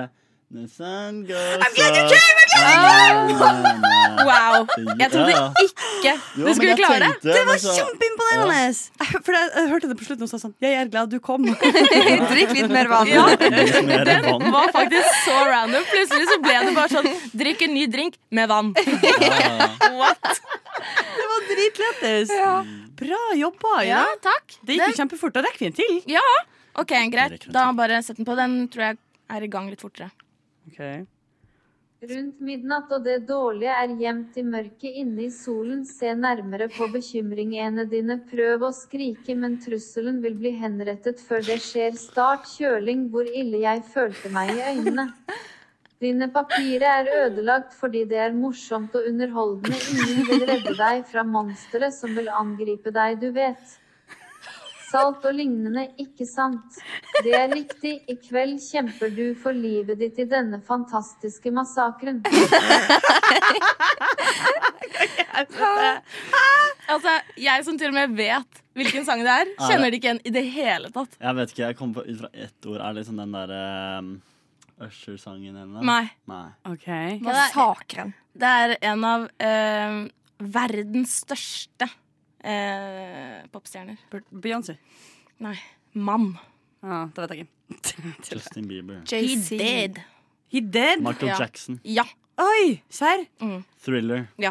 The sun goes
I'm glad you
up.
came, I'm glad you
Na, na, na, na.
Wow. Jeg trodde
Ja, ja.
ikke
Jo,
du
men
skulle
jeg
klare det.
tenkte,
Det var
men så-
kjempeimponerende! Jeg- For jeg, jeg hørte det på slutten og sa sånn Jeg er glad du kom.
Drikk litt mer vann.
Ja.
Litt mer vann.
Den var faktisk så random. Plutselig så ble det bare sånn Drikk en ny drink med vann. What?
Det var dritlættis. Bra jobba, Ida.
Ja, takk.
Det gikk jo kjempefort. Da rekker vi en til.
Ja, OK, greit. Da bare sett den på. Den tror jeg er i gang litt fortere.
Rundt midnatt og det dårlige er gjemt i mørket inne i solen. Se nærmere på bekymringene dine. Prøv å skrike, men trusselen vil bli henrettet før det skjer. Start kjøling hvor ille jeg følte meg i øynene. Dine papirer er ødelagt fordi det er morsomt og underholdende. Ingen vil redde deg fra monstre som vil angripe deg, du vet. Salt og lignende, ikke sant? Det er riktig, i kveld kjemper du for livet ditt i denne fantastiske massakren.
Altså, jeg som til og med vet hvilken sang det er,
Ja,
kjenner
det-
det ikke igjen i det hele tatt.
Jeg vet ikke, jeg kom på ut fra ett ord. Er det liksom den derre um, Usher-sangen hennes?
Nei.
Nei.
Massakren. Det er en av eh, verdens største eh, popstjerner.
Beyoncé?
Nei. Mann.
Ja, det vet jeg ikke.
Justin Bieber.
He did.
He did?
Michael Ja. Jackson.
Ja.
Oi! Serr?
Thriller.
Ja.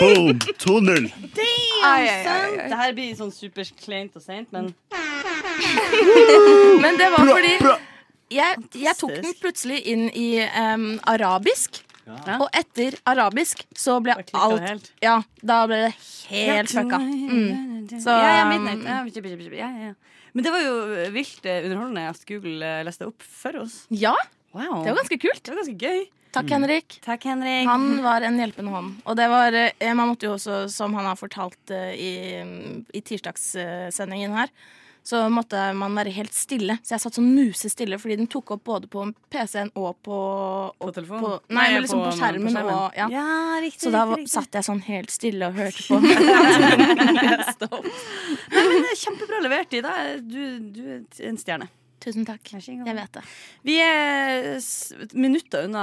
Boom! 2-0.
Damn, son! Det her blir sånn superkleint og seint, men
Men det var fordi jeg, jeg tok den plutselig inn i em, arabisk.
Ja.
Og etter arabisk så ble alt Ja, da ble det helt
Ja.
fucka. Mm. Så
ja, ja,
em,
midnight. Ja, bip, bip, bip, ja, ja. Men det var jo vilt eh, underholdende at Google eh, leste opp for oss.
Ja.
Wow.
Det var ganske kult.
Det var ganske gøy.
Takk,
Mm.
Henrik. Han
Mm.
var en hjelpende hånd. Og det var eh, Man måtte jo også, som han har fortalt eh, i, i tirsdagssendingen her, så måtte man være helt stille. Så jeg satt sånn musestille, fordi den tok opp både på PC-en og på På
telefonen?
nei,
Nei,
men liksom
på-
på
på
skjermen.
skjermen.
Og, ja.
Ja, riktig,
så da
riktig,
var-
riktig.
satt jeg sånn helt stille og hørte på. Leste opp.
Nei, men det er Kjempebra levert, Ida. Du, du er t- en stjerne.
Tusen takk. Jeg vet det.
Vi er s- minutter unna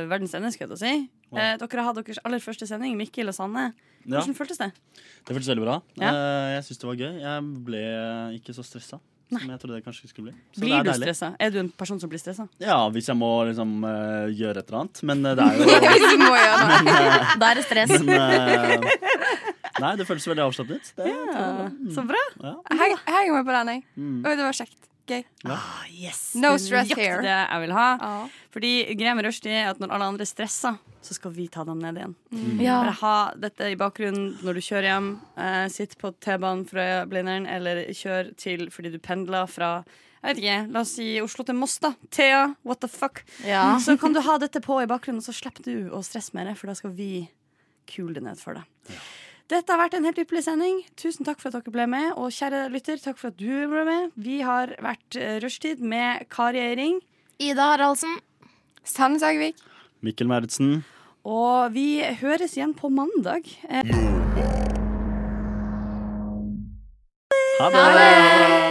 eh, verdens ende, skal jeg til å si. Eh, dere har deres aller første sending, Mikkel og Sanne.
Ja.
Hvordan føltes det?
Det føltes veldig bra.
Ja.
Eh, Jeg syns det var gøy. Jeg ble ikke så stressa som jeg trodde jeg kanskje skulle bli. Så det
Blir
er
du
deilig.
stressa? Er du en person som blir stressa?
Ja, hvis jeg må liksom eh, gjøre et eller annet. Men eh, det er jo
Da er det stress.
Men, eh, Nei, det føltes veldig avslappet. Det,
Så bra.
Jeg jeg henger meg på den, jeg.
Mm.
Oi, det var kjekt. Gøy.
Ah,
yes.
No stress
Nøyaktig
here.
Det jeg vil ha. Fordi greia med rushtid er at når alle andre stresser, så skal vi ta dem ned igjen.
Mm.
Ah.
Ja.
Bare ha dette i bakgrunnen når du kjører hjem. Eh, sitt på T-banen fra Blindern, eller kjør til fordi du pendler fra jeg vet ikke, La oss si Oslo til Moss, da. Thea, what the fuck.
Ja.
Mm.
Så kan du ha dette på i bakgrunnen, og så slipper du å stresse med det, for da skal vi kul den er for deg. Dette har vært en helt ypperlig sending. Tusen takk for at dere ble med. Og kjære lytter, takk for at du ble med. Vi har vært eh, Rushtid med Kari Eiring.
Ida Haraldsen.
Sanne Sagvik.
Mikkel Mertsen.
Og vi høres igjen på mandag. Eh.
Ha det!